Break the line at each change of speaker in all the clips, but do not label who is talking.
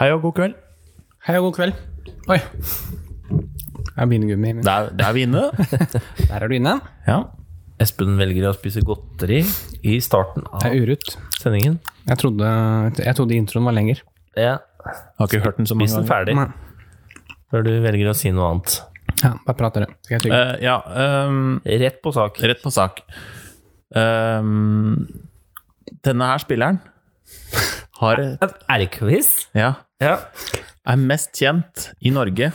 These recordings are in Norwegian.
Hei og god kveld.
Hei og god kveld. Oi. Jeg har bindegummi. men
Der, der er vi inne.
Der er du inne.
Ja.
Espen velger å spise godteri i starten av
Jeg er urut.
sendingen.
Jeg trodde, jeg trodde introen var lenger.
Ja,
Jeg har ikke hørt den så
Spis
mange ganger.
den ferdig
Nei.
før du velger å si noe annet.
Ja, bare prat dere. Skal jeg tygge?
Eh, ja, ehm,
Rett på sak.
rett på sak. Ehm, denne her spilleren har
R-quiz?
ja,
Ja.
er mest kjent i Norge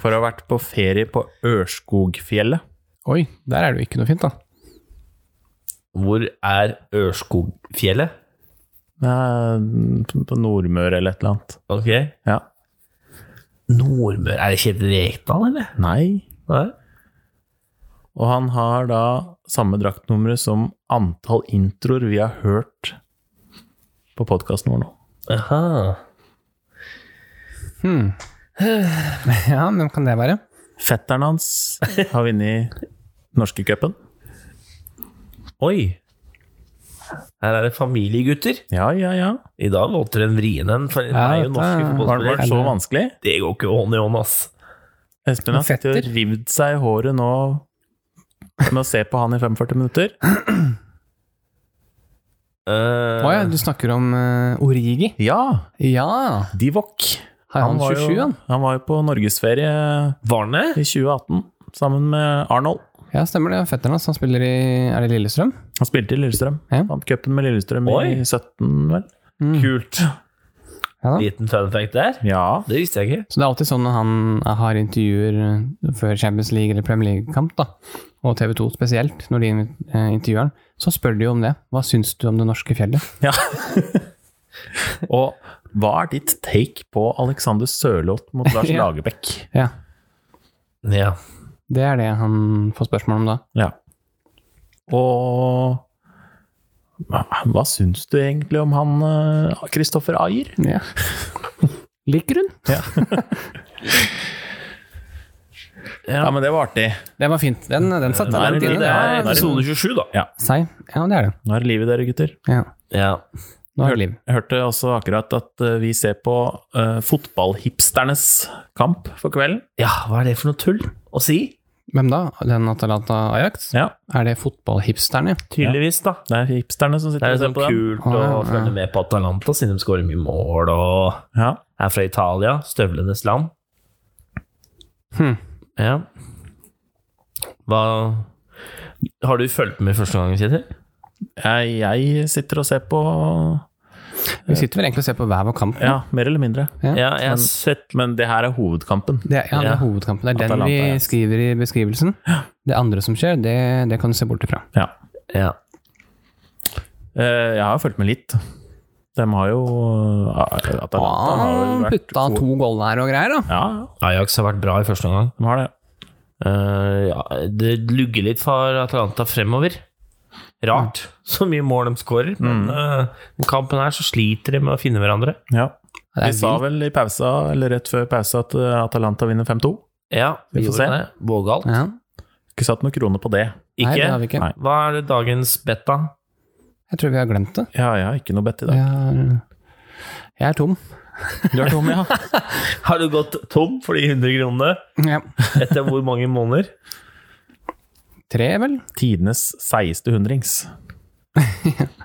for å ha vært på ferie på Ørskogfjellet.
Oi, der er det jo ikke noe fint, da.
Hvor er Ørskogfjellet?
Eh, på- på Nordmøre eller et eller annet.
Ok.
Ja.
Nordmøre Er det Kjetil Rekdal, eller?
Nei.
Nei.
Og han har da samme draktnummeret som antall introer vi har hørt på podkasten vår nå.
Aha.
Ja, hvem kan det være?
Fetteren hans har vunnet norskecupen.
Oi. Her er det familiegutter.
Ja, ja, ja.
I dag låter den vrien en, for det er jo
dette
norske
Var
var-
det var det
fotballspillere.
så vanskelig?
Det går ikke hånd i hånd, ass.
Espen har sittet og
Fetter.
rivd seg i håret nå med å se på han i 45 minutter.
Eh,
Å ja, du snakker om eh, Origi.
Ja!
Ja!
Divok.
Har han, 27,
jo,
han?
han var jo på norgesferie
Varne?
i 2018 sammen med Arnold.
Ja, stemmer det. Fetteren hans, han spiller i Er det Lillestrøm?
Han spilte i Lillestrøm.
Ja. Mm.
Vant cupen med Lillestrøm
Oi.
i 17, vel.
Kult.
Ja da.
Liten fun fact der.
Ja.
Det visste jeg ikke.
Så det er alltid sånn når han har intervjuer eh, før Champions League eller Premier League-kamp, da, og TV 2 spesielt, når de eh, intervjuer han, så spør de jo om det. Hva syns du om det norske fjellet?
Ja. Og hva er ditt take på Alexander Sørloth mot Lars
Ja.
Lagerbäck?
Ja,
Ja.
det er det han får spørsmål om da.
Ja. Og hva, hva syns du egentlig om han Kristoffer Ayer?
Ja. Liker hun?
Ja. men det var artig.
Det var fint. Den, den satt
Nå er
den
det,
tiden.
det er
Ja,
episode 27, da.
Sei. Ja, det er det.
Nå er det liv i dere, gutter.
Ja.
Ja.
Nå er det liv.
Jeg hørte også akkurat at eh, vi ser på eh, fotballhipsternes kamp for kvelden.
ja, hva er det for noe tull å si?
Hvem da? Den Atalanta Ajax?
Ja,
Er det fotballhipsterne?
Tydeligvis, da.
det er hipsterne som
Det
sitter
er
og ser
liksom
på den.
kult å
Ah, Ja, ja.
følge med på Atalanta, siden de skårer mye mål og
Ja.
er fra Italia. Støvlenes land.
Hm.
Ja. Hva Har du fulgt med første gang, Kjetil?
Jeg, jeg sitter og ser på
Vi sitter vel egentlig og ser på hver vår kamp. nå.
Ja, mer eller mindre.
Ja.
Ja, jeg har sett
Men det her er hovedkampen.
Det er, ja, det
Ja.
er hovedkampen. Det er den
Atalanta, ja.
vi skriver i beskrivelsen. Det andre som skjer, det, det kan du se bort ifra.
Ja.
ja.
Eh, Jeg har fulgt med litt. De har jo eh, Atalanta har vel
Ah,
vært
putta
gode.
to goll her og greier, da.
Ja,
Ajax har vært bra i første omgang.
de har det.
Eh, ja, det lugger litt for Atalanta fremover.
Hm.
Rart, så mye mål de skårer. Men eh, i kampen her så sliter de med å finne hverandre.
Ja.
Det
Vi
er
sa
vilt.
vel i pausa, eller rett før pausa, at eh, Atalanta vinner 5-2.
Ja, vi
Vi får
gjorde
se.
det. Vågalt.
Ja.
Ikke satt noen kroner på det.
Ikke?
Nei, det har vi ikke.
Nei.
Hva er det dagens bet, da?
Jeg tror vi har glemt det.
Ja, jeg har ikke noe bedt i dag.
Jeg er, jeg er tom.
Du er tom, ja.
Har du gått tom for de 100 kronene
Ja.
etter hvor mange måneder?
Tre, vel?
Tidenes seigeste hundrings.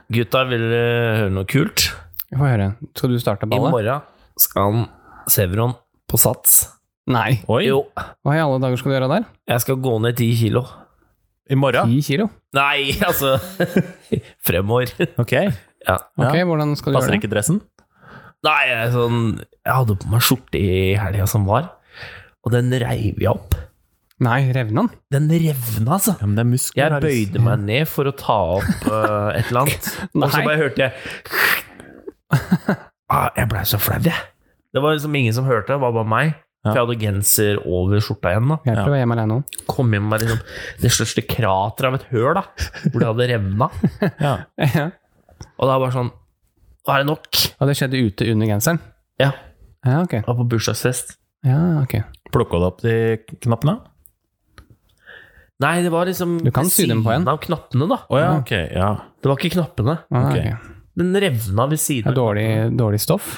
Gutta, vil dere høre noe kult?
Vi får høre. Skal du starte
I
ballet?
morgen skal han Sevron på Sats.
Nei.
Oi!
Jo,
Hva i alle dager skal du gjøre der?
jeg skal gå ned 10 kilo.
I morgen?
Ti kilo?
Nei, altså Fremover.
Ok.
Ja.
Ok,
Ja.
hvordan skal du
Passer
gjøre det?
ikke dressen?
Nei, jeg, er sånn, jeg hadde på meg skjorte i helga som var, og den reiv jeg opp.
Nei, revna den?
Den revna, altså.
Ja, men det er muskler.
Jeg
Aris.
bøyde meg ned for å ta opp eh, et eller annet, og så
Nei.
bare hørte jeg ah, Jeg blei så flau, jeg. Det var liksom ingen som hørte, det var bare meg.
Ja.
For jeg hadde genser over skjorta igjen. da
Hjelper å være hjemme alene nå.
Kom hjem med liksom, det største krateret av et høl, da hvor det hadde revna.
Ja.
Ja.
Og da var bare sånn Nå er det nok.
Og det skjedde ute under genseren?
Ja,
Ja, ok.
jeg var på bursdagsfest.
Ja, ok.
Plukka du opp de knappene?
Nei, det var liksom
Du kan
ved
sy dem på
siden
igjen.
av knappene, da.
Å ja, ok. Ja.
Det var ikke knappene.
Ah,
Ok.
ok.
Den revna ved
Det
siden
er dårlig, dårlig stoff?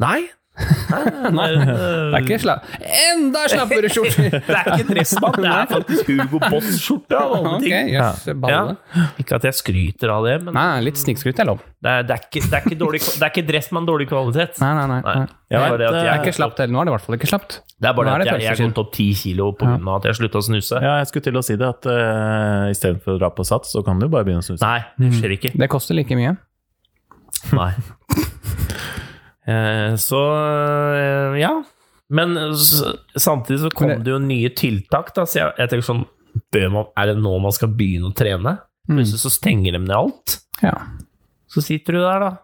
Nei, Nei,
Det er ikke sla Enda slappere skjorter!
det er ikke dressmann, det er faktisk Hugo Boss-skjorte. av alle
Ok,
ting.
jøss, balle.
Ja. Ikke at jeg skryter av det, men
Nei, litt snikskryt er lov.
det er, det er, ikke, det er, ikke, dårlig, det er ikke dressmann dårlig kvalitet.
Nei, nei, nei.
Nei.
nei.
Det er
Jeg
bare
vet,
det at
Det er
jeg-
ikke slapt heller. Nå er det i hvert fall ikke slapt.
det er bare
Nå er
det
det
at jeg, jeg
tøffelskinn.
kom topp ti kilo pga. av at jeg slutta å snuse.
Ja, jeg skulle til å si det, at uh, istedenfor å dra på sats, så kan du bare begynne å snuse.
Nei, det
Mm.
skjer ikke.
Det koster like mye.
Nei. Eh, Så eh, ja. Men s- samtidig så kom
Men det-
det jo nye tiltak, da, så jeg, jeg tenker sånn bør man, Er det nå man skal begynne å trene? Plutselig
Mm.
så stenger de ned alt.
Ja.
Så sitter du der, da,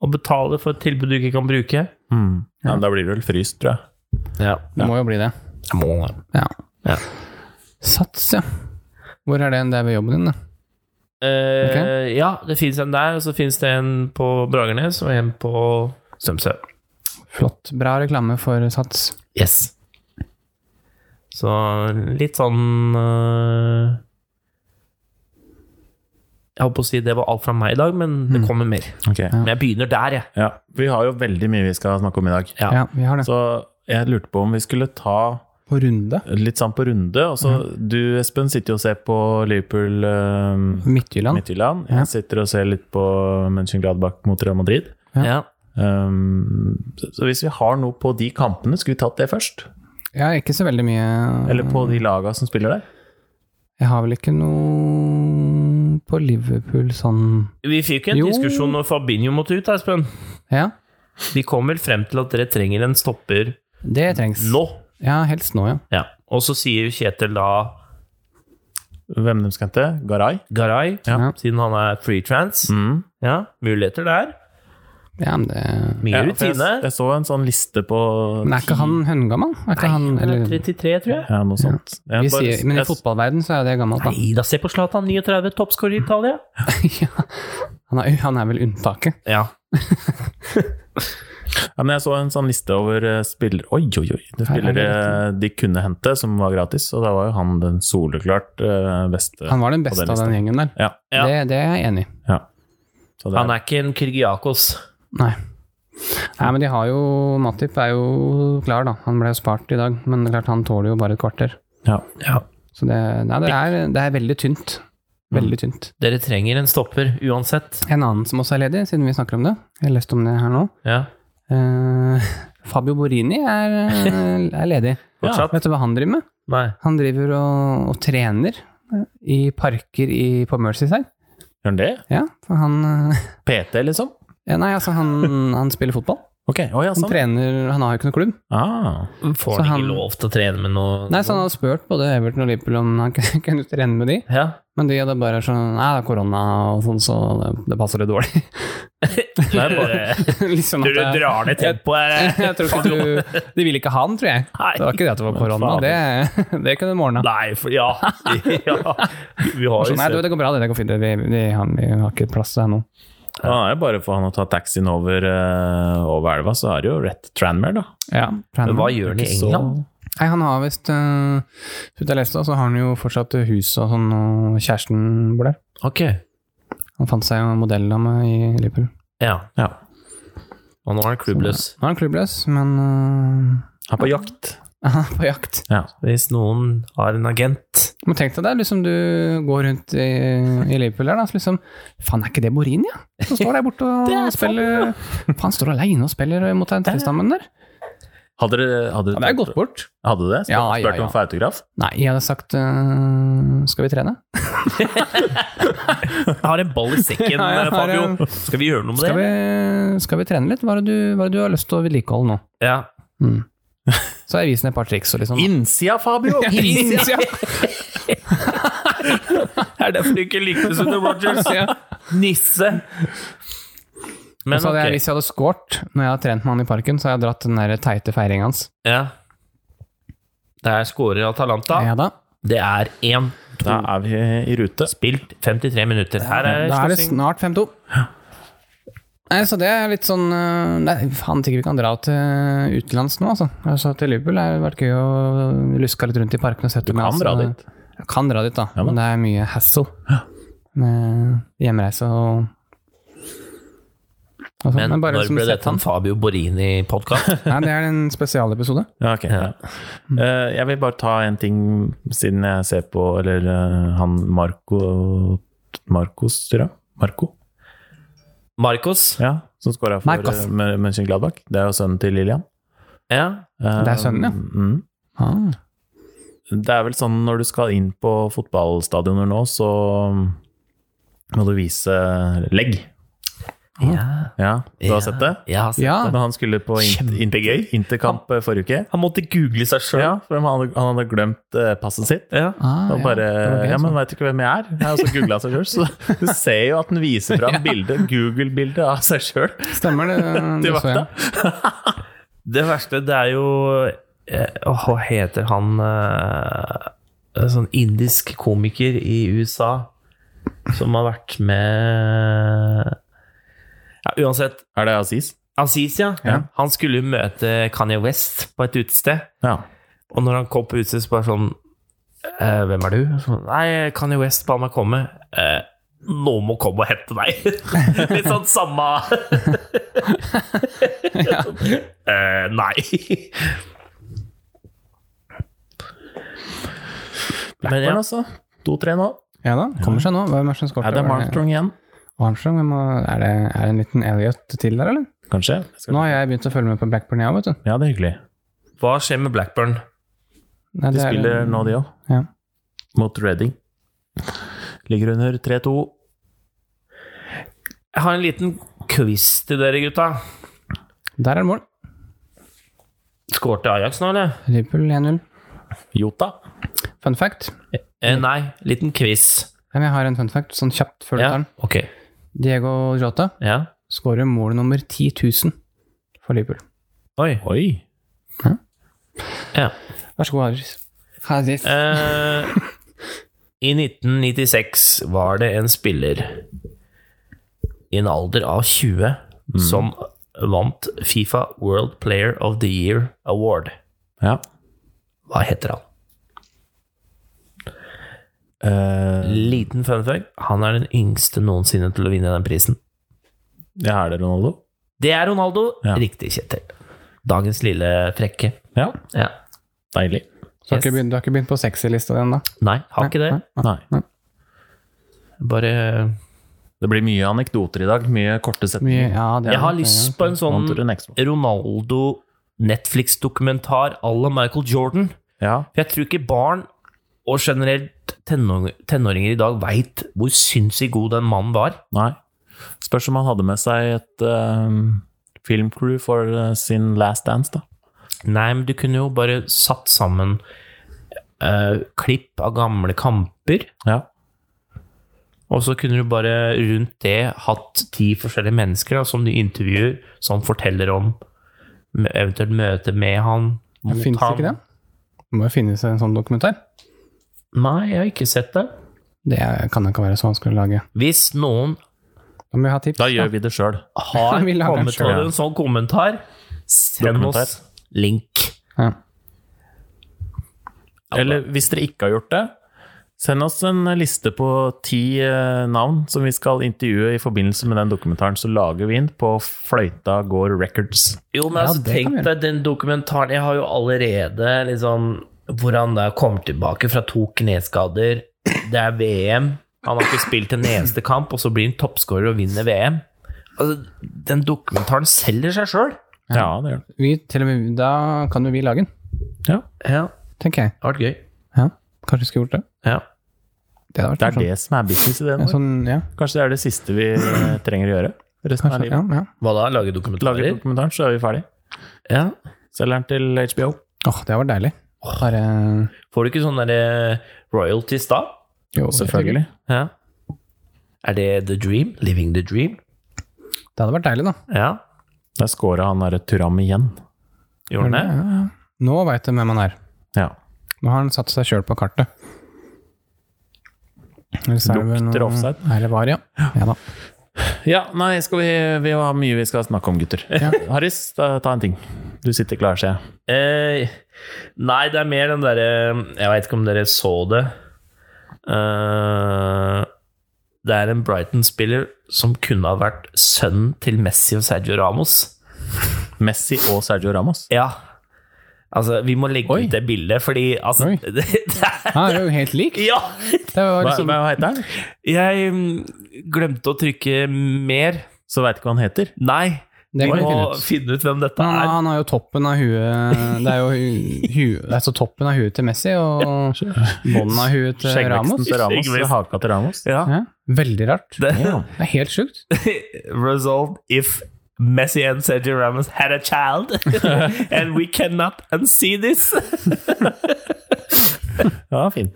og betaler for et tilbud du ikke kan bruke.
Mm. Ja, men da blir du vel fryst, tror jeg.
Ja.
Det må jo bli det.
Jeg må det.
Ja.
Ja.
Sats, ja. Hvor er det en der ved jobben din, da?
Eh,
Ok.
Ja, det fins en der, og så fins det en på Bragernes og en på Strømsø.
Flott. Bra reklame for Sats.
Yes. Så litt sånn eh, Jeg holdt på å si det var alt fra meg i dag, men
Mm.
det kommer mer.
Ok. Ja.
Men jeg begynner der, jeg.
Vi har jo veldig mye vi skal snakke om i dag.
Ja.
Ja, vi har det.
Så jeg lurte på om vi skulle ta
På runde.
litt sånn på runde. Og så
Mhm.
du, Espen, sitter jo og ser på Liverpool eh,
Midtjylland.
Midtjylland.
Ja.
Jeg sitter og ser litt på Mönchengladbach mot Real Madrid.
Ja.
Ja.
Um, så så hvis vi har noe på de kampene, skulle vi tatt det først?
Ja, ikke så veldig mye
Eller på de laga som spiller der?
Jeg har vel ikke noe på Liverpool sånn
Vi fikk jo en
Jo.
diskusjon når Fabinho måtte ut, Espen.
Ja,
Vi kom vel frem til at dere trenger en stopper
det trengs.
nå.
Ja, helst nå, ja.
Ja. Og så sier jo Kjetil da
Hvem de skal hente? Garay?
Garay,
Ja.
siden han er free trans.
Mm.
Ja, muligheter der.
Ja, men det
Mye
Ja, for
rutine.
Jeg, jeg så en sånn liste på
Men er ikke han høngammal? Er ikke han,
Nei, han er
eller,
33, tror jeg.
Ja, noe sånt. Jeg
vi
bare-
sier, men i
jeg-
fotballverden så er jo det gammelt, da.
Nei da, se på Zlatan. 39, toppskårer i Italia.
ja. han, er, han er vel unntaket.
Ja.
Ja, men jeg så en sånn liste over eh, spillere Oi, oi, oi! Det
Her er det
spillere eh, de kunne hente, som var gratis. Og da var jo han den soleklart eh, beste.
Han var den beste
den
av den gjengen der.
Ja.
Ja.
Det, det er jeg enig i.
Så det,
Han er ikke en Kyrgiakos.
Nei. Nei, men de har jo Matip er jo klar, da. Han ble jo spart i dag, men det er klart han tåler jo bare et kvarter.
ja.
Så det, nei, det, er, det er veldig tynt. Veldig
Mm.
tynt.
Dere trenger en stopper uansett.
En annen som også er ledig, siden vi snakker om det. Jeg har lest om det her nå.
Ja.
Eh, Fabio Borini er, er ledig.
Fortsatt?
Vet du hva han driver med?
Nei.
Han driver og, og trener eh, i parker i, på Mercyside.
Gjør han det?
Ja, for han eh,
PT, liksom?
ja, Nei, altså, han, han spiller fotball.
Ok, å ja,
Han
sånn.
trener Han har jo ikke noen klubb.
Ah.
Så
Får han
han-
ikke lov til å trene med noe
Nei, så han hadde spurt både Everton og Liverpool om han kunne kunne trene med de,
Ja.
men de hadde bare sånn Nei, det er korona og sånn, så det, det passer det dårlig.
Det er bare
liksom
Du
at
du
det,
drar ned tempoet her.
jeg tror ikke du De ville ikke ha han, tror jeg.
Nei.
Det var ikke det at det var korona. Det, det kunne de ordna.
Nei, for ja. ja. Vi har jo
Sånn, nei, du,
sett
det går bra, det. Det går fint. det. Vi, vi, han, vi har ikke plass til deg nå.
Da er det bare for han å ta taxien over, eh, over elva, så er det jo rett til Tranmere, da.
Ja,
Men hva gjør han i
Ikke så-
England?
Nei, han har visst uh, Ut jeg leste, så har han jo fortsatt hus og sånn, og kjæresten bor der.
Ok.
Han fant seg jo en modelldame i Liverpool.
Ja.
Ja.
Og nå er han klubbløs.
Nå er han klubbløs, men øh,
Han er på jakt.
han er på jakt.
Ja.
Hvis noen har en agent
Men tenk deg det, liksom du går rundt i, i Liverpool der, da, så liksom Faen, er ikke det Borin, ja? Som står der borte og
Det er sant,
spiller Faen, han står aleine og spiller mot den trestammen der.
Hadde dere hadde,
Ja,
dere
det er
tenkt-
gått bort.
hadde det? Spør,
Ja, ja,
Spurte
ja.
om for autograf?
Nei, jeg hadde sagt øh, Skal vi trene?
Jeg har en ball i sekken,
Ja, jeg har
Fabio.
en-
Skal vi gjøre noe med
Skal
det?
vi, skal vi trene litt? Hva er det du, hva er det du har lyst til å vedlikeholde nå?
Ja.
Mm. Så har jeg vist henne et par triks og liksom
Innsida, Fabio!
Innsida!
Det er derfor du ikke likte Sunday Rogers.
Ja.
Nisse.
Og
Men
så hadde jeg,
ok.
hvis jeg hadde scoret når jeg har trent med han i parken, så har jeg dratt den der teite feiringen hans.
Ja. Der scorer Atalanta.
Ja da.
Det er én
Da er vi i rute.
spilt 53 minutter. Her er
Da er det
slåssing.
snart 5-2. Nei, så det er litt sånn eh, Nei, faen sikkert vi kan dra til utenlands nå, altså. altså til Liverpool det har jo vært gøy å luske litt rundt i parken og sette altså.
Du kan dra dit.
Jeg kan dra dit, da.
Ja da.
Men det er mye hassle med hjemreise og Og sånn.
Men
bare
når
liksom
ble
sett
dette en Fabio Borini-podkast?
Nei, det er en spesialepisode.
Ja, ok. Ja. Eh, jeg vil bare ta en ting siden jeg ser på Eller eh, han Marco Marcos, tror jeg. Marco?
Marcos?
Ja, som scora for
Marcos.
eh, Mö- Mönchengladbach. Det er jo sønnen til Lillian.
Ja.
Eh,
Det er sønnen, ja.
Mm.
Ah.
Det er vel sånn når du skal inn på fotballstadioner nå, så må du vise legg.
ja.
Ja, du har
Ja.
sett det?
Jeg har sett
Ja.
Når han skulle på in-
Kjempegøy.
interkamp eh, forrige uke.
Han måtte google seg sjøl.
Ja, for han hadde, han hadde glemt eh, passet sitt.
Ja.
Ah,
Og bare
det var gøy,
Ja, men
sånn.
veit du ikke hvem jeg er? Jeg har også googla seg sjøl. Så du ser jo at den viser fram bildet, Google-bildet av seg sjøl
Stemmer det.
til
det så jeg.
vakta.
Det verste, det er jo eh, åh, Hva heter han eh, en Sånn indisk komiker i USA som har vært med Ja, uansett.
Er det Aziz?
Aziz, ja.
Ja.
Han skulle jo møte Kanye West på et utested.
Ja.
Og når han kom på utestedet, så bare sånn eh, Hvem er du? Så, Nei, Kanye West ba meg komme. Eh, nå må komme og hente deg! Litt sånn samme eh, Nei. Men
Men
ja,
altså, to-tre nå.
Ja da, kommer seg nå. Hvem er det som skårte?
Er det
Var
Armstrong igjen?
Armstrong? Hvem var- Er det, er det en liten Elliot til der, eller?
Kanskje?
Nå har jeg begynt å følge med på Blackburn, jeg òg, vet du.
Ja, det er hyggelig.
hva skjer med Blackburn?
Nei,
De
det er-
spiller nå, de òg.
Ja.
Mot Reading. Ligger under 3-2.
Jeg har en liten quiz til dere, gutta.
Der er det mål.
Skårte Ajax nå, eller?
Liverpool 1-0.
Jota.
Fun fact.
Eh, nei, liten quiz.
Ja, men Jeg har en fun fact, sånn kjapt før du tar
Ja,
den.
ok.
Diego Jota
Ja.
skårer mål nummer 10 000 for Liverpool.
Oi.
Oi!
Ja.
Vær så god, Haris. Haris.
Eh, I 1996 var det en spiller i en alder av 20
Mm.
som vant Fifa World Player of the Year Award.
Ja.
Hva heter han?
Eh,
Liten fun fact, han er den yngste noensinne til å vinne den prisen.
ja, er det Ronaldo?
Det er Ronaldo.
Ja.
Riktig, Kjetil. Dagens lille frekke.
Ja.
Ja.
Deilig.
Så har ikke
yes.
begynt, du har ikke begynt på sexy-lista igjen, da?
Nei, har ikke det.
Nei, nei.
Nei.
Bare
Det blir mye anekdoter i dag. Mye korte
Mye,
setninger.
ja, det er
Jeg har
det,
lyst på en
On
sånn
to the next one.
Ronaldo-Netflix-dokumentar à la Michael Jordan.
Ja.
For jeg tror ikke barn, og generelt tenåring- tenåringer i dag, veit hvor sinnssykt god den mannen var.
Nei. Spørs om han hadde med seg et ehm, filmcrew for eh, sin Last Dance, da.
Nei, men du kunne jo bare satt sammen eh, klipp av gamle kamper,
Ja.
og så kunne du bare rundt det hatt ti forskjellige mennesker da, som du intervjuer, som forteller om m- eventuelt møte med han.
Ja,
mot
Finnes det
han.
ikke det? Det må jo finnes en sånn dokumentar.
Nei, jeg har ikke sett det.
Det er- kan da ikke være så vanskelig å lage.
Hvis noen
Da må vi ha tips.
Da gjør vi det sjøl.
har
Vi lager den
kommet
selv,
over
ja.
en sånn kommentar, send
Dokumentar.
oss link.
Ja.
Eller hvis dere ikke har gjort det, send oss en liste på ti eh, navn som vi skal intervjue i forbindelse med den dokumentaren. Så lager vi den på Fløyta går records.
Jo, men
Ja,
altså,
det kan
tenk
vi gjøre.
deg den dokumentaren Jeg har jo allerede liksom Hvordan det kom tilbake fra to kneskader Det er VM Han har ikke spilt en eneste kamp Og så blir han toppskårer og vinner VM altså, Den dokumentaren selger seg selv
Ja, det gjør den.
Vi, til og med, da kan jo vi lage den,
Ja.
Ja,
tenker jeg.
det har vært gøy
Ja, kanskje vi skulle gjort det.
ja.
Det hadde vært
Det er
morsomt.
det som er businessideen
En
vår.
sånn, ja,
Kanskje det er det siste vi eh, trenger å gjøre resten av
kanskje, ja,
livet.
ja.
Hva da? Lage
Lager
dokumentarer?
dokumentaren, så er vi ferdig.
Ja
Selger den til HBO.
Åh, det var deilig. Bare,
Får du ikke sånne der, eh, royalties da?
jo,
Selvfølgelig.
Ja Er det the dream? Living the dream?
Det hadde vært deilig, da.
Ja
Der scora han derre Turam igjen.
Gjorde den det?
Ja, ja. Nå veit du hvem han er.
Ja.
Nå har han satt seg sjøl på kartet. Eller så er det vel
Lukter
noe-
offside.
Eller var, ja. ja da.
Ja, nei, skal vi, vi har mye vi skal snakke om, gutter. Harris, ta, ta en ting. Du sitter klar, ser jeg.
Eh, nei, det er mer den derre Jeg veit ikke om dere så det. Eh, det er en Brighton-spiller som kunne ha vært sønnen til Messi og Sergio Ramos.
Messi og Sergio Ramos.
Ja. Altså, vi må legge
Oi.
ut det bildet, fordi altså
Oi.
det, det er,
Han er jo helt lik.
Ja!
Det var
Hva,
liksom,
hva heter han?
Jeg mm, glemte å trykke mer.
Så veit ikke hva han heter.
Nei.
det
Vi
kan vi
må
finne ut.
finne ut hvem dette
Han,
er.
han har jo toppen av huet Det er jo hu, hu- det er så toppen av huet til Messi og bånden av huet til
Skjeggveksten
Eh, Ramos.
til Ramos
Skjeggvekst.
og haka til Ramos.
Ja.
Ja, veldig rart.
Det,
Ja.
Det er helt sjukt.
result if Messi and Sergio Ramos had a child, and we cannot unsee this.
ja, fin.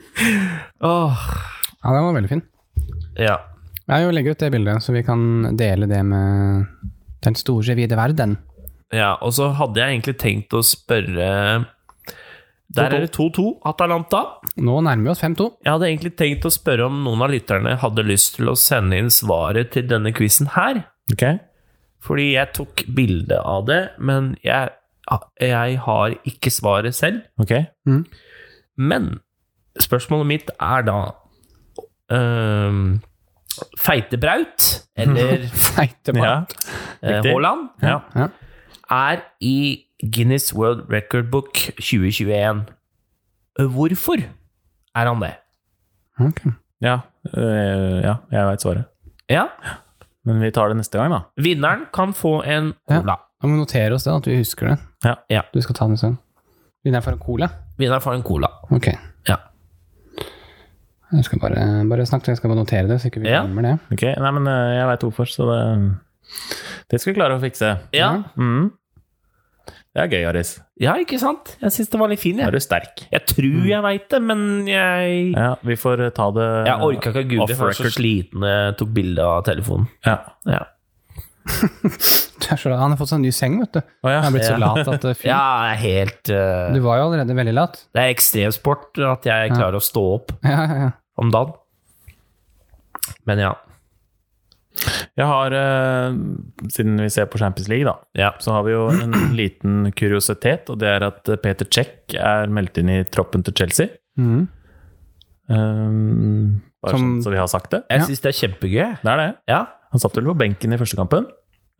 Ja, den var veldig fin.
Ja.
Jeg vil legge ut det bildet, så vi kan dele det med den store, vide verden.
ja, og så hadde jeg egentlig tenkt å spørre Der er det 2-2, Atalanta.
Nå nærmer vi oss 5-2.
Jeg hadde egentlig tenkt å spørre om noen av lytterne hadde lyst til å sende inn svaret til denne quizen her.
Ok.
Fordi jeg tok bilde av det, men jeg, jeg har ikke svaret selv.
ok.
Men spørsmålet mitt er da øhm, Feitebraut, eller
Feite på.
Ja.
eh,
riktig.
Haaland,
ja.
Ja.
er i Guinness World Record Book 2021. Hvorfor er han det?
Ok.
Ja, øh, ja jeg veit svaret.
Ja,
Men vi tar det neste gang, da.
Vinneren kan få en
Ja.
cola.
Da må vi notere oss det, at vi husker det.
Ja.
Ja.
Du skal ta den sånn. Vi er for en cola.
Vinneren får en cola.
Ok.
Ja.
Jeg skal bare, bare snakke, jeg skal bare notere det, så ikke vi
Ja.
glemmer det.
Ok, Nei, men øh, jeg veit hvorfor, så det, det skal vi klare å fikse.
Ja,
Mm. Det er gøy, Aris.
ja ikke sant? Jeg syns den var litt fin,
Da
jeg.
er du sterk. Mm.
Jeg tror jeg veit det, men jeg
Ja, vi får øh, ta det
Jeg orka ikke å google,
off
for jeg var så
record.
sliten da jeg tok bilde av telefonen.
Ja.
Ja.
Det er så rart. Han har fått seg en ny seng, vet du.
Å, ja.
Han har blitt så
Ja.
lat at det fy.
Ja, jeg er helt eh,
Du var jo allerede veldig lat.
Det er ekstremsport at jeg klarer å stå opp
Ja, ja, ja.
om dagen. Men ja.
Jeg har, øh, siden vi ser på Champions League, da,
ja.
så har vi jo en liten kuriositet, og det er at øh, Peter Cech er meldt inn i troppen til Chelsea. Mm.
Mhm.
Um, bare
Som-
sånn så vi har sagt det.
Jeg
Ja.
syns det er kjempegøy.
Det er det.
Ja.
Han satt vel på benken i første kampen?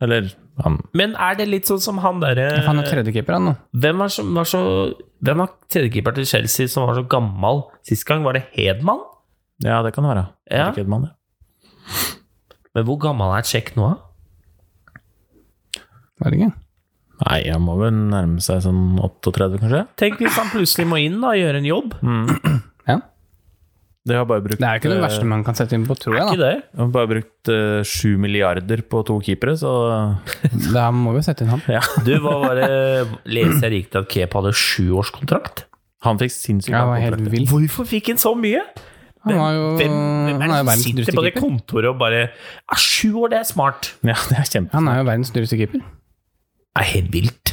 Eller han
Men er det litt sånn som han
Han er
derre
tredjekeeper, han nå.
Hvem var, som var så Hvem var tredjekeeper til Chelsea som var så gammel sist gang? Var det Hedman?
Ja, det kan det være.
Ja.
Erik Edman, ja.
Men hvor gammel er Tsjekk nå, da?
Var det ikke?
Nei, han må vel nærme seg sånn 38, kanskje?
Tenk hvis han plutselig må inn da og gjøre en jobb.
Ja.
Det har bare brukt
Det er jo ikke det
eh,
verste man kan sette inn på, tror jeg.
Ikke det?
de har bare brukt eh, 7 milliarder på to keepere, så
Da Da må vi jo sette inn han.
ja.
Du, hva var det Leser jeg riktig at Kepa hadde sjuårskontrakt?
Han fikk sinnssykt
Det var
mange
helt
kontrakter.
vilt.
Hvorfor fikk han så mye?
Han var jo,
Hvem, hvem
Mm, han er jo
er det som
verdens
sitter
dyreste
på det
keeper.
kontoret og bare Er sju år, det er smart.
Ja, det er kjempe...
Han er jo verdens dyreste keeper.
Det er helt vilt.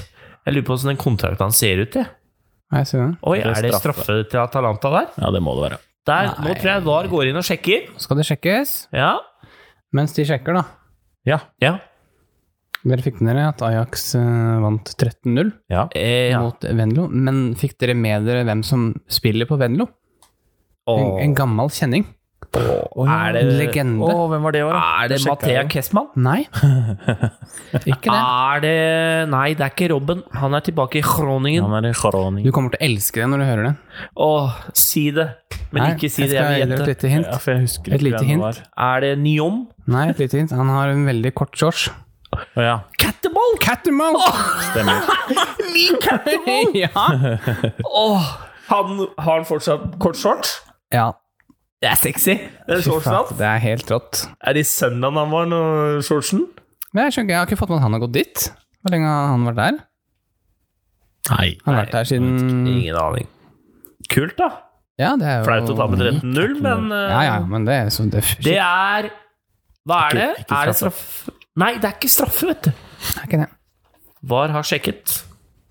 Jeg lurer på hvordan den kontrakten hans ser ut. Jeg.
Ja, Jeg ser det.
Oi,
Det er
er det straffe til Atalanta der?
Ja, det må det være.
der nå
Nei.
tror jeg VAR går inn og sjekker.
Så skal det sjekkes.
Ja.
Mens de sjekker, da.
Ja.
ja.
Dere fikk med dere at Ajax eh, vant 13-0
ja.
Eh, ja.
mot Venlo. Men fikk dere med dere hvem som spiller på Venlo? En,
Åh,
en gammel kjenning.
er
En
det,
Å,
legende.
hvem var det i år, da?
er det
Jeg sjekket
Mathea
jo.
Kessmann?
Nei. Ikke det.
Er det Nei, det er ikke Robben. Han er tilbake i Groningen.
Han er i Choroning.
Du kommer til å elske det når du hører det.
Åh, si det. Men
Nei,
ikke si det.
skal gi
Jeg vil
dere et
gjette.
lite hint.
Ja, for jeg husker
Et lite
hvem det
hint.
var.
Er det Nyom?
Nei, et lite hint. Han har en veldig kort shorts.
Å, ja,
Catteball!
Catamount!
stemmer.
Min catteball!
ja.
Åh, han har han fortsatt kort shorts?
ja.
Det er sexy. Det er
Fy
shortsen
faen,
hans.
det er helt rått.
Er det i søndagen han var nå, shortsen?
Men jeg, skjønner, ikke, jeg har ikke fått med at han har gått dit. Hvor lenge har han vært der?
Nei.
Han har vært der siden
Ingen aning. Kult, da.
Ja, det er jo
Flaut å ta med 13-0, men eh,
Ja, ja, men det er så Um, det,
det er Hva er det?
Ikke- ikke
er det straff? Nei, det er ikke straffe, vet du.
er ikke det.
VAR har sjekket.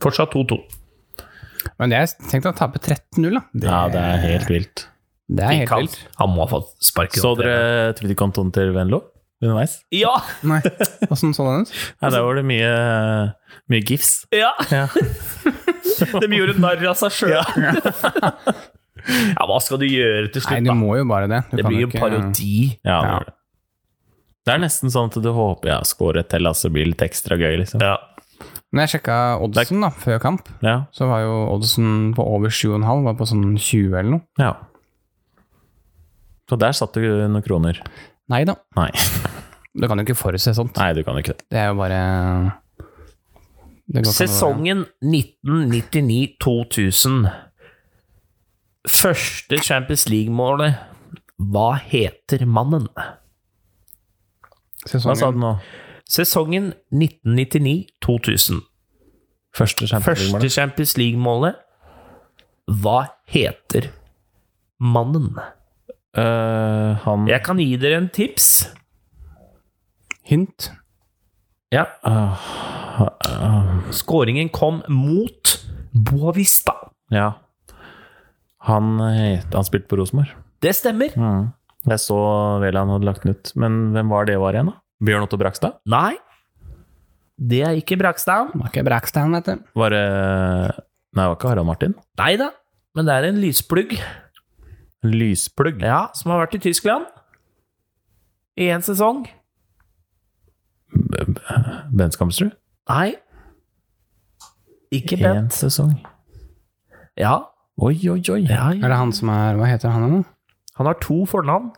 Fortsatt 2-2.
Men jeg tenkte å tape 13-0, da. Det,
Ja, det er helt vilt.
det er helt
Ikke
vilt.
han. Han må ha fått sparken.
Så dere Twitter-kontoen til Venlo underveis?
Ja!
Nei, åssen så den ut?
Nei, der var det mye, mye gifs.
ja.
Ja.
De gjorde narr av seg sjøl. Ja, hva skal du gjøre til
Nei,
slutt,
du
da?
må jo bare det. Du
Det
kan
blir
jo
jo
ikke-
parodi.
Ja, det
Ja.
gjør det. Det er nesten sånn at du håper jeg scorer et til, altså blir det litt ekstra gøy, liksom.
Ja.
Men jeg sjekka oddsen da, før kamp.
Ja.
Så var jo oddsen på over 7,5, var på sånn 20 eller noe.
ja. Så der satt du noen kroner.
Nei da,
Nei.
du kan jo ikke forutse sånt.
Nei, du kan ikke det.
Det er jo bare det går ikke an å-
Sesongen 1999-2000. Første Champions League-målet. Hva heter mannen?
Hva sa
Sesongen
du nå?
Sesongen 1999-2000.
Første Champions
Første
League-målet?
Champions League-målet. Hva heter mannen?
Øh, han
Jeg kan gi dere en tips.
Hint.
Ja. Skåringen kom mot Boavista.
Ja. Han, het, han spilte på Rosenborg.
Det stemmer.
Mm. Jeg så Veland hadde lagt den ut. Men hvem var det var igjen, da? Bjørn Otto Brakstad?
Nei, det er ikke Brakstad.
Var ikke Brakstein, vet du.
Var det Nei, det var ikke Harald Martin.
Nei da, men det er en lysplugg
Lysplugg.
ja, som har vært i Tyskland i én sesong.
Bent Skamsrud.
Nei. Ikke
Én
Bent.
sesong.
Ja.
Oi, oi, oi.
ja,
Er
ja.
det han som er Hva heter han nå?
Han har to fornavn.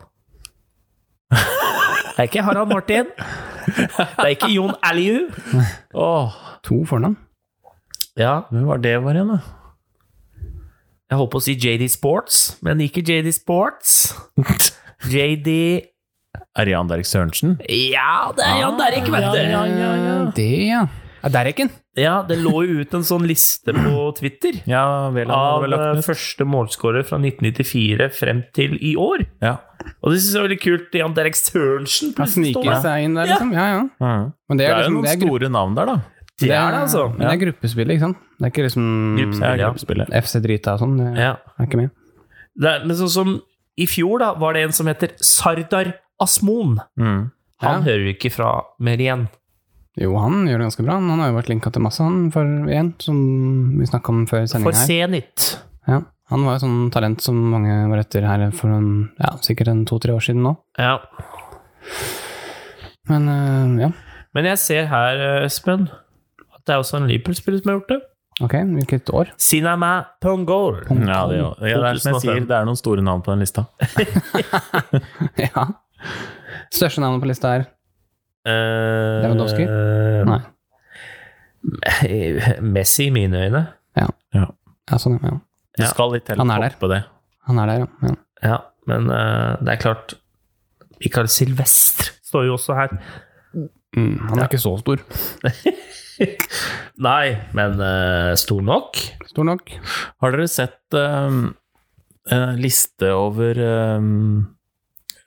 Det er ikke Harald Martin. Det er ikke Jon Aliu.
Åh,
To fornavn?
Ja,
hvem var det var igjen, da?
jeg holdt på å si JD Sports, men ikke JD Sports. JD
Er Jan Derek Sørensen?
Ja, det er Jan Derrik, vet
Ah,
du.
Eh, Det, ja. ja Derricken.
Ja, det lå jo ut en sånn liste på Twitter
Ja, Veland hadde
av
vel lagt
eh,
den ut.
første målskårer fra 1994 frem til i år.
Ja.
Og det syns jeg er veldig kult. Jan Derek Sørensen
Han
plutselig står
sniker
der.
seg inn der, liksom. Ja, ja.
Mhm.
Men det
Det
er,
er jo
liksom,
noen
det er, gru-
store navn der, da.
Det er det, altså.
Men det er gruppespillet, ikke sant? Det er ikke liksom
Gruppespill. Ja.
gruppespillet.
FC Drita og sånn. Det
Ja.
er ikke med.
Det er, men sånn som i fjor, da, var det en som heter Sardar Asmon.
Mhm.
Ja.
Han hører ikke fra mer igjen.
Jo, han gjør det ganske bra. Han har jo vært linka til masse, han, for igjen, som vi snakka om før
For
sendinga her.
Zenit.
Ja. Han var jo sånn talent som mange var etter her for en, ja, sikkert en to-tre år siden nå.
Ja.
Men eh, ja,
Men jeg ser her, eh, Espen, at det er også en Liverpool-spiller som har gjort det.
ok, hvilket år?
Sinama Pongol.
Ja, det, er jo- ja, det er som jeg
2005.
sier, det er noen store navn på den lista.
ja. Største navnet på lista er
Eh,
Lewandowski? Nei.
eh, Messi i mine øyne.
Ja, sånn, ja.
Du
Ja.
skal litt til
Han er
å toppe det.
Han er der, ja. ja.
Ja, men eh, det er klart Mikael Silvestre står jo også her.
Mm, han er ikke så stor.
Nei, men eh, stor nok.
Stor nok.
Har dere sett ehm, en liste over ehm,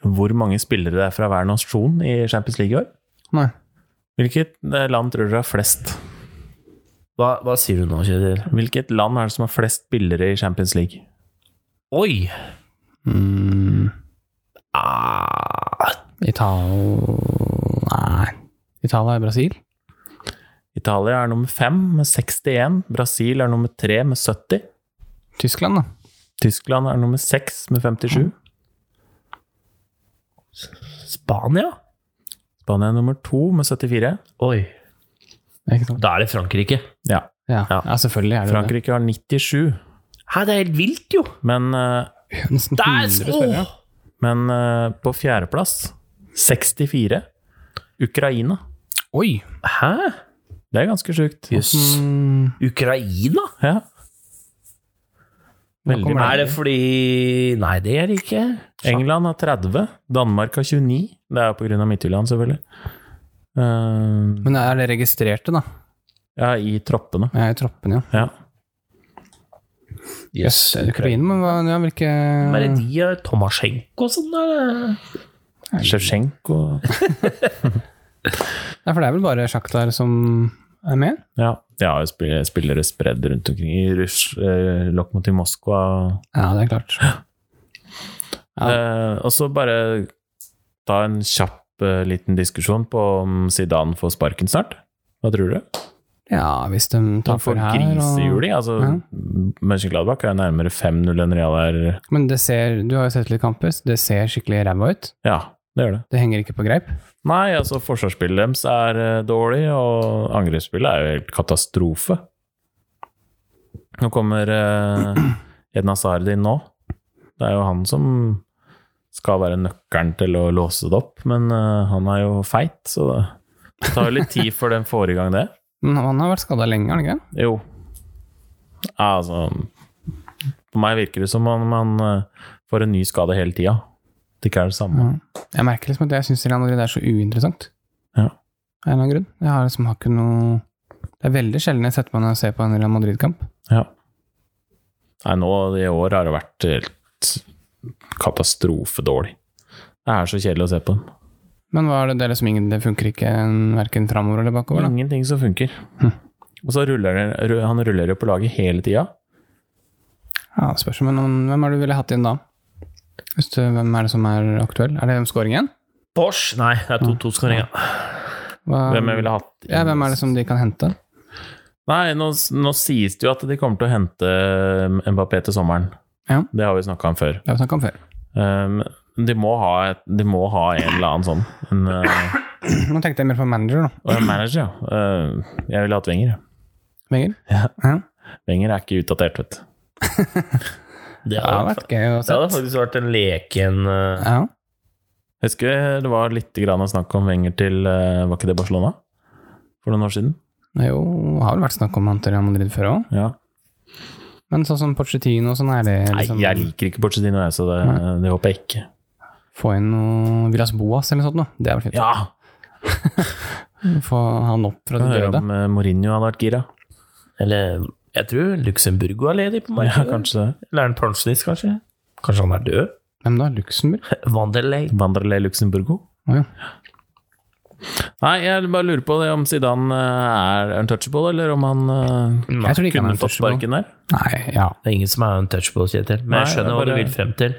hvor mange spillere det er fra hver nasjon i Champions League i år?
Nei.
Hvilket eh, land tror dere har flest?
Hva, hva sier du nå, Kjetil?
Hvilket land er det som har flest spillere i Champions League?
Oi!
Mm,
Ah,
Italia Nei. Italia er Brasil?
Italia er nummer fem med 61. Brasil er nummer tre med 70.
Tyskland, da.
Tyskland er nummer seks med 57.
Spania?
Spania er nummer to med 74.
Oi.
Ikke sant?
Da er det Frankrike.
Ja.
Ja.
Ja.
ja, selvfølgelig er det jo det.
Frankrike har 97,
Hæ, det er helt vilt, jo!
men, eh,
Nesten
Det er
100 spillere.
Åh!
men eh, på fjerdeplass 64. Ukraina.
Oi!
Hæ?
Det er ganske sjukt.
Jøss.
Mm,
Ukraina?
Ja.
Nå kommer
Er det fordi Nei, det er det ikke.
England har 30, Danmark har 29. Det er pga. Midtjylland, selvfølgelig. Eh,
Men er det registrerte, da?
ja, i troppene.
Jeg er i troppen, ja.
Ja.
Jøss, Ukraina, men hva, ja, hvilke
Men er det de og Tomasjenko og sånn? eller?
Sjevsjenko
Ja, for det er vel bare Sjaktar som er med?
Ja. De har jo spil- spillere spredd rundt omkring i Russ, eh, Lokomotiv Moskva
Ja, det er klart.
Eh, Og så bare ta en kjapp eh, liten diskusjon på om Zidane får sparken snart. Hva tror du?
Ja, hvis de
Han
taper
får
her og...
grisehjuling. Altså, Mönchengladbach er jo nærmere 5-0 enn Real er
Men det ser, du har jo sett litt kamper. Det ser skikkelig ræva ut.
Ja, det gjør det.
Det henger ikke på greip.
Nei, altså forsvarsspillet deres er eh, dårlig, og angrepsspillet er jo helt katastrofe. Nå kommer eh, Edna Sard inn nå. Det er jo han som skal være nøkkelen til å låse det opp, men eh, han er jo feit, så det det tar jo litt tid før den får i gang det.
Men han har vært skada lenge, har han ikke? det?
Jo. Ja, Altså For meg virker det som om han eh, får en ny skade hele tida. Det ikke er det samme.
Jeg merker liksom at jeg syns Real Madrid er så uinteressant.
Ja.
Av en eller annen grunn. Jeg har liksom har ikke noe Det er veldig sjelden jeg setter meg ned og ser på en Real Madrid-kamp.
Ja. Nei, nå i år har det vært helt katastrofedårlig. Det er så kjedelig å se på dem.
Men hva er det, det, er liksom ingen, det funker ikke verken framover eller bakover, da.
Ingenting som funker.
Hm.
Og så ruller det, ru- han ruller jo på laget hele tida.
Ja, det spørs, men om- hvem er det du ville hatt inn da? Hvis du, hvem er det som er aktuell? Er det hvem skåringen?
Bosch? Nei, det er 2-2-skåringa.
Hva,
Hvem jeg ville hatt
ja, hvem er det som de kan hente?
Nei, nå, nå sies det jo at de kommer til å hente um, Mbappé til sommeren.
Ja.
Det har vi snakka om før.
Det har vi snakka om før.
Um, de, må ha et, de må ha en eller annen sånn. En, uh,
Nå tenkte jeg mer på manager, da.
og en manager, ja. Uh, jeg ville hatt Wenger.
Venger.
Wenger er ikke utdatert, vet du.
Det
Det har
hadde
vært gøy å
det hadde
se.
faktisk vært en leken eh,
Ja.
Jeg husker det var litt grann snakk om Wenger til eh, Var ikke det Barcelona? For noen år siden?
Det er Jo, har vel vært snakk om han til Real Madrid før òg.
Ja.
Men sånn som Pochettino og sånn, er det
Nei,
liksom
jeg liker ikke Pochettino, jeg, så det, det håper jeg ikke.
Få inn noe Villas Boas eller noe sånt. nå. Det hadde vært fint.
Ja!
Få han opp fra det
Høre
døde.
om eh, Mourinho hadde vært gira.
Eller jeg tror Luxemburgo er ledig på
Ja,
markedet.
kanskje det.
Eller er han pensjonist, kanskje? Kanskje han er død?
Hvem da? Luxembourg?
Wanderley.
Wanderley Luxemburgo.
Å ja.
Nei, jeg bare lurer på det om Zidane eh, er untouchable, eller om han eh,
Jeg tror ikke
kunne
han er
fått
untouchable.
sparken der.
Nei, ja.
Det er ingen som er untouchable, Kjetil. Men jeg
Nei, det
skjønner
er
hva du
bare-
vil frem til.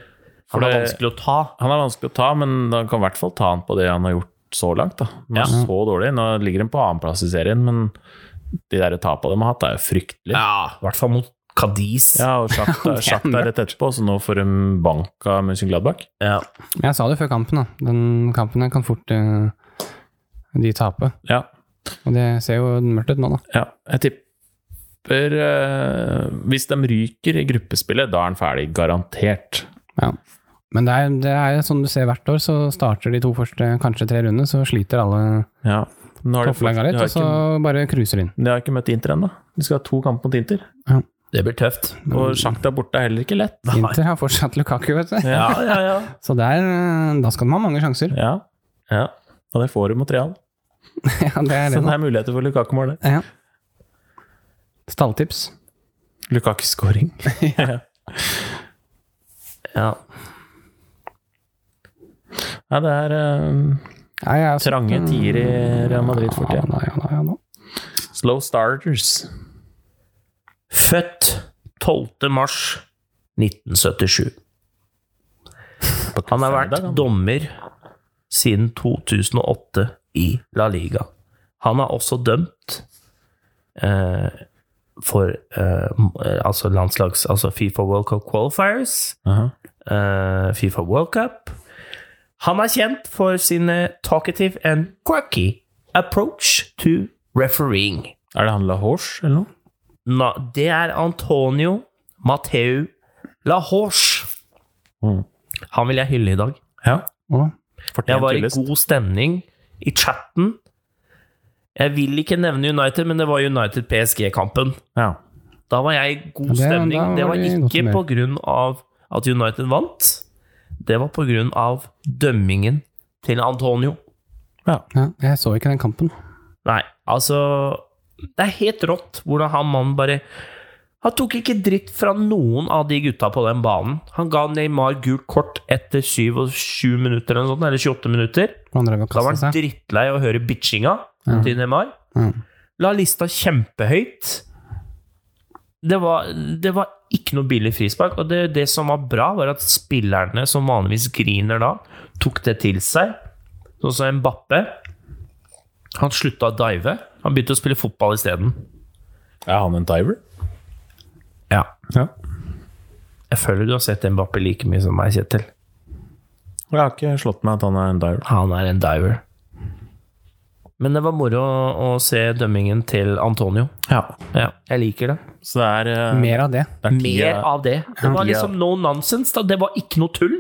For
Han er
det-
vanskelig å ta.
Han er vanskelig å ta, men han kan i hvert fall ta han på det han har gjort så langt. da. Han
Ja.
er så dårlig. Nå ligger han på annenplass i serien, men de der tapene de har hatt, er jo fryktelige.
Ja, i hvert fall mot Cadiz.
Ja, og Shakhtar
Ok.
Shakhtar rett etterpå, så nå får de bank av Mönchengladbach.
Ja.
Men jeg sa det før kampen, da. Den kampen her kan fort eh, de tape.
Ja,
Og det ser jo mørkt ut nå, da.
ja. Jeg tipper eh, Hvis de ryker i gruppespillet, da er han ferdig, garantert.
Ja. Men det er, det er jo sånn du ser hvert år, så starter de to første, kanskje tre rundene, så sliter alle
Ja. Nå har de, fått,
topplagene
de,
litt, altså.
har
og så
ikke,
bare cruiser inn.
de har ikke møtt Inter ennå. De skal ha to kamper mot Inter.
Det blir tøft.
Og Shakhtar borte er heller ikke lett.
Inter har fortsatt Lukaku, vet du.
Ja, ja, ja.
Så der, eh, da skal de ha mange sjanser.
Ja,
ja.
Og det får du mot Real.
Ja, det er
Så
det,
det
da.
er muligheter for Lukaku-mål. det.
Ja. Stalltips.
Lukaku-skåring.
ja.
Ja, det er eh,
Ja, jeg har sett,
trange
eh,
tider i Real Madrid for
Ja
tida.
da, ja da, ja da.
Slow starters.
Født 12. mars 1977. Han har vært
Fredag, han.
dommer siden 2008 i La Liga. Han er også dømt eh, for eh, m- eh, altså landslags Altså Fifa World Cup Qualifiers,
Aha.
eh, Fifa World Cup. Han er kjent for sine talkative and quirky approach to refereeing.
Er det han La Horse, eller noe?
Na, det er Antonio Mateu Lahorche.
Mm.
Han vil jeg hylle i dag.
Ja.
Å,
Fortjent
Jeg var i
hyllest.
god stemning i chatten. Jeg vil ikke nevne United, men det var United-PSG-kampen.
Ja.
Da var jeg i god
Ja, det- da
stemning.
var
Det var
du i godt
ikke
humør.
på grunn av at United vant. Det var på grunn av dømmingen til Antonio.
ja, jeg så ikke den kampen.
Nei, altså Det er helt rått hvordan han mannen bare Han tok ikke dritt fra noen av de gutta på den banen. Han ga Neymar gult kort etter 27 minutter eller noe sånt, eller 28 minutter.
Han drev og
Da var
kastet
han
seg.
drittlei av å høre bitchinga
Ja.
til Neymar.
Ja.
La lista kjempehøyt. Det var, det var ikke noe billig frispark. Og det, det som var bra, var at spillerne som vanligvis griner da, tok det til seg. Sånn som Mbappe. Han slutta å dive. Han begynte å spille fotball isteden.
Er han en diver?
Ja.
Ja.
Jeg føler du har sett Mbappé like mye som meg, Kjetil.
Jeg har ikke slått meg at han er en diver.
Han er en diver. Men det var moro å se dømmingen til Antonio.
Ja.
Ja, jeg liker det.
Så det er eh,
Mer av det.
det er ti-
Mer av det. Det var
Ja.
liksom no nonsense. da. Det var ikke noe tull.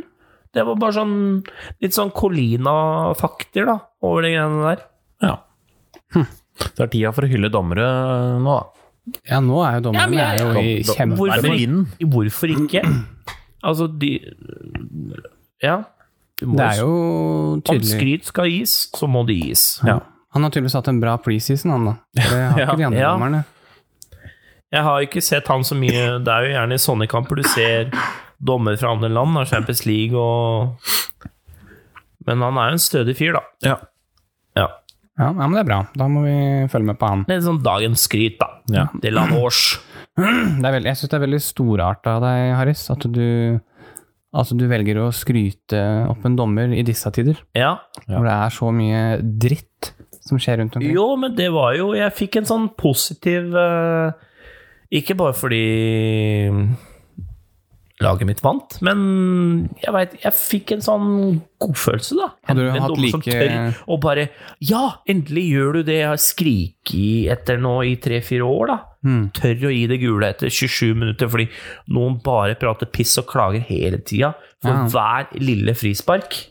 Det var bare sånn litt sånn Colina-fakter da, over de greiene der.
Ja. Det er tida for å hylle dommere nå, da.
Ja, nå er jo
Ja,
dommerne
men jeg-
er jo i kjempe...
Hvorfor,
Nei, men
hvorfor ikke? Altså, de Ja. Du må
Det er jo
Om
tydelig
skryt skal gis, så må det gis.
Ja.
Han har tydeligvis hatt en bra preseason, han da. Det har ikke de andre
Ja.
dommerne.
Jeg har ikke sett han så mye. Det er jo gjerne i sånne kamper du ser dommer fra andre land, da, Champions League og Men han er jo en stødig fyr, da.
Ja.
Ja.
Ja, ja, men det er bra. Da må vi følge med på han.
Litt sånn dagens skryt, da.
Ja.
Til han års.
Det er veld, jeg syns det er veldig storarta av deg, Harris, at du, at du velger å skryte opp en dommer i disse tider.
Ja.
Ja.
Hvor det er så mye dritt som skjer rundt omkring.
Jo, men det var jo Jeg fikk en sånn positiv eh, Ikke bare fordi laget mitt vant, men jeg veit Jeg fikk en sånn godfølelse, da.
Hadde du
en
hatt
dommer som
like-
tør å bare Ja, endelig gjør du det jeg har skriket i etter nå i tre-fire år, da.
Mm.
Tør å gi det gule etter 27 minutter fordi noen bare prater piss og klager hele tida for
Ja.
hver lille frispark.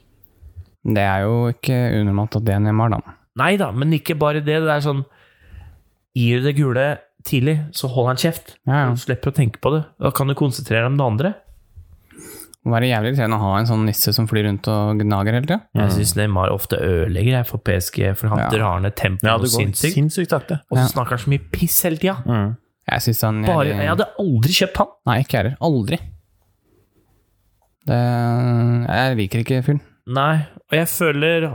Det er jo ikke unormalt at det er Neymar, da.
Nei da, men ikke bare det. Det er sånn Gir du det gule tidlig, så holder han kjeft.
Ja, ja.
Du slipper å tenke på det. Da kan du konsentrere deg om det andre.
Må være jævlig irriterende å ha en sånn nisse som flyr rundt og gnager hele tida.
Jeg syns Neymar ofte ødelegger jeg for PSG, for han
Mm. Ja.
drar ned tempoet
ja,
noe
det går
sinnssykt.
sinnssykt sakte.
Og så
Ja.
snakker han så mye piss hele tida.
Mm.
Jeg syns han
Bare,
jævlig-
jeg hadde aldri kjøpt han.
Nei, ikke jeg heller. Aldri. Det Jeg liker ikke fyren.
Nei, og jeg føler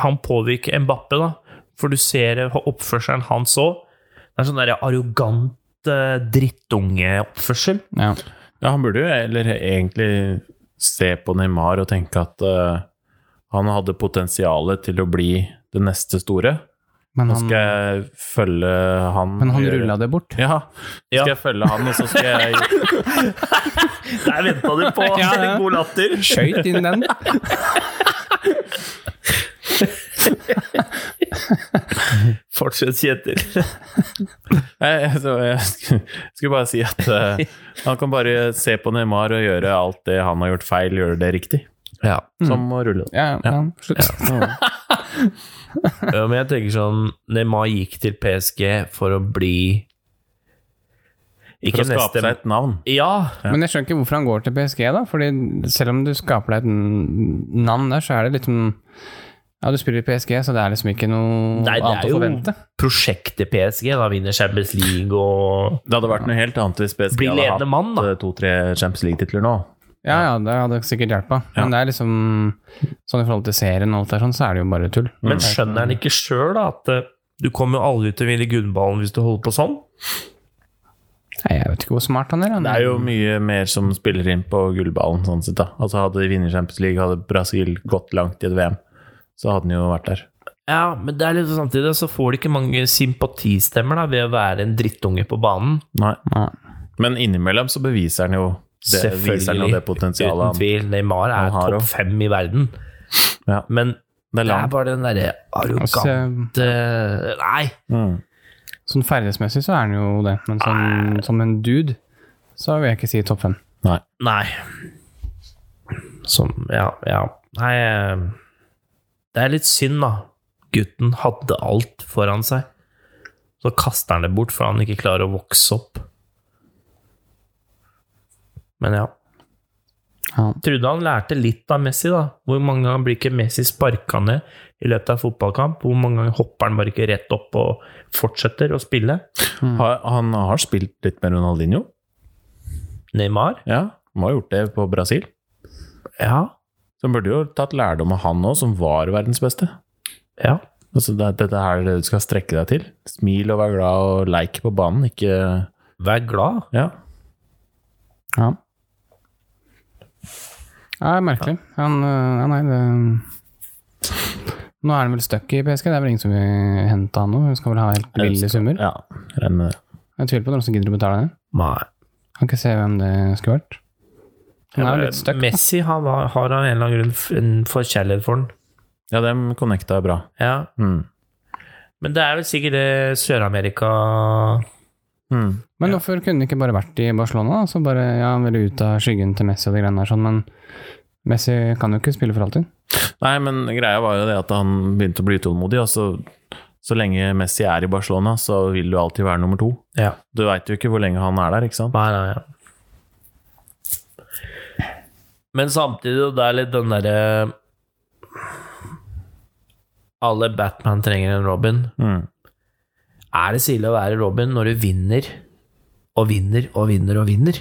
han påvirker Mbappe, da. For du ser oppførselen hans òg. Det er sånn der arrogant eh, drittungeoppførsel.
Ja.
Ja, han burde jo eller egentlig se på Neymar og tenke at eh, han hadde potensialet til å bli det neste store.
Men
Nå
han,
skal jeg følge han
men han
og gjøre-
rulla det bort.
Ja.
Ja.
Skal jeg følge han, og så skal jeg
Der venta du på
Ja, ja.
god latter!
Skøyt inn den.
Fortsett, Kjetil.
Jeg, jeg, så altså, jeg skulle skulle bare si at eh, han kan bare se på Neymar og gjøre alt det han har gjort feil, gjøre det riktig.
Ja.
Som å rulle.
Ja, ja. Slutt.
men jeg tenker sånn Neymar gikk til PSG for å bli
For
Ikke
å skape
neste
seg et navn.
Ja,
Men jeg skjønner ikke hvorfor han går til PSG, da. Fordi selv om du skaper deg et n- navn der, så er det liksom Ja, du spiller i PSG, så det er liksom ikke noe
Nei, det er
annet å
jo-
forvente.
prosjektet PSG. Da vinner Champions League og
Det hadde vært noe helt annet hvis PSG
Bli
hadde
ledende
hatt
mann, da.
eh, to-tre Champions League-titler nå.
Ja, ja, det hadde sikkert hjulpet. Men det er liksom sånn i forhold til serien og alt der, sånn, så er det jo bare tull.
Mm.
Men skjønner han ikke sjøl at eh, du kommer jo aldri til å vinne gullballen hvis du holder på sånn?
Nei, jeg vet ikke hvor smart han er. Han.
Det er jo mye mer som spiller inn på gullballen, sånn sett. da. Altså Hadde de vunnet Champions League, hadde Brasil gått langt i et VM, så hadde den jo vært der.
Ja, men det er litt samtidig så får de ikke mange sympatistemmer da ved å være en drittunge på banen.
Nei.
Nei.
Men innimellom så beviser han jo det, viser han jo det potensialet
Uten
han
tvil. Neymar
han
er
har
topp
også.
fem i verden.
Ja.
Men
Det er
det er
langt.
bare den derre
Altså,
arrogante Nei!
Mm.
sånn ferdighetsmessig så er han jo det, men sånn, som en dude så vil jeg ikke si topp fem.
Nei.
Nei. Som Ja, ja. Nei eh, Det er litt synd, da. Gutten hadde alt foran seg. Så kaster han det bort for han ikke klarer å vokse opp. Men ja.
Ja.
Trodde han lærte litt av Messi, da. Hvor mange ganger blir ikke Messi sparka ned i løpet av en fotballkamp? Hvor mange ganger hopper han bare ikke rett opp og fortsetter å spille?
Mm.
Har- Han har spilt litt med Ronaldinho.
Neymar?
Ja, han har gjort det på Brasil.
Ja.
Så han burde jo tatt lærdom av han òg, som var verdens beste.
Ja.
Altså, det, dette her er det du skal strekke deg til. Smil og vær glad og leik på banen, ikke
Vær glad.
Ja.
Ja. ja, merkelig. Han øh, Ja, nei, eh, det Nå er han vel stuck i PSG, det er vel ingen som vil hente han nå. Hun skal vel ha helt ville summer.
Ja, regner med det.
Jeg tviler på at noen som gidder å betale det.
Nei.
Kan ikke se hvem det skulle vært. Han er jo litt stuck.
Messi han var, har av en eller annen grunn f- en forkjærlighet for den.
Ja, dem connecta bra.
Ja.
Mm.
Men det er vel sikkert det Sør-Amerika
Mm.
Men hvorfor kunne det ikke bare vært i Barcelona? da? Så bare, ja, Han ville ut av skyggen til Messi og de greiene der, sånn, men Messi kan jo ikke spille for alltid.
Nei, men greia var jo det at han begynte å bli utålmodig. Og så, så lenge Messi er i Barcelona, så vil du alltid være nummer to.
Ja.
Du veit jo ikke hvor lenge han er der, ikke sant?
Nei, nei, ja. Men samtidig, og det er litt den derre Alle Batman trenger en Robin.
Mm.
Er det stille å være Robin når du vinner og vinner og vinner og vinner?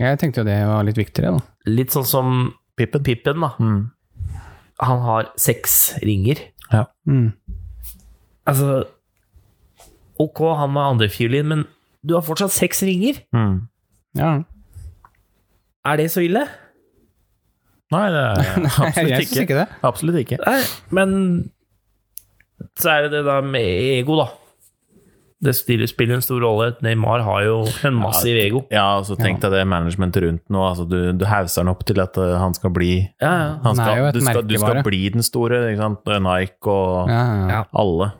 Jeg tenkte jo det var litt viktigere, da.
Litt sånn som
Pippen.
Pippen, da.
Mm.
Han har seks ringer.
Ja.
Mm.
Altså Ok, han var andrefiolin, men du har fortsatt seks ringer.
Mm.
Ja.
Er det så ille?
Nei, det er
jeg
absolutt
syns
ikke.
ikke det.
Absolutt ikke.
Nei, men så er det det da med ego, da. Det stiller- spiller en stor rolle. Neymar har jo en massiv ego.
Ja, altså Tenk deg det managementet rundt nå. Altså, du, du hauser han opp til at eh, han skal bli
Ja, ja.
han
Han er
skal,
jo et
du, skal, du skal
merkevare.
bli den store. Ikke sant? Nike og
Ja, ja.
Ja.
alle.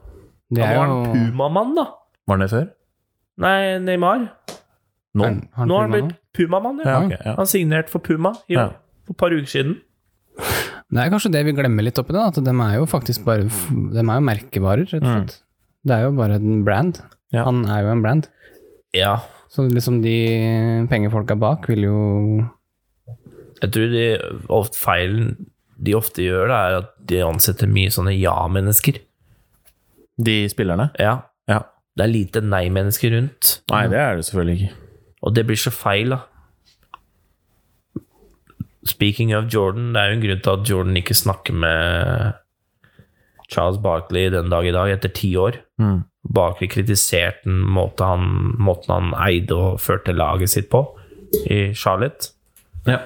Det
Han
er
var
jo
en pumamann, da.
Var han det før?
Nei, Neymar.
Nå?
Er- har
Nå har han
Puma
blitt pumamann,
Ja,
ja.
ok, ja.
Han signerte for Puma i,
Ja.
for et par uker siden.
Det er kanskje det vi glemmer litt oppi det, at de er jo faktisk bare De er jo merkevarer, rett og slett. Det er jo bare en brand.
Ja.
Han er jo en brand.
Ja.
Så liksom de pengefolka bak vil jo
Jeg tror de, ofte, feilen de ofte gjør, da, er at de ansetter mye sånne ja-mennesker.
De spillerne?
Ja.
Ja.
Det er lite nei-mennesker rundt.
Nei, det er det selvfølgelig ikke.
Og det blir så feil, da. Speaking of Jordan, det er jo en grunn til at Jordan ikke snakker med Charles Barkley den dag i dag, etter ti år.
Mm.
Barkley kritiserte den måten han, måten han eide og førte laget sitt på i Charlotte.
Ja.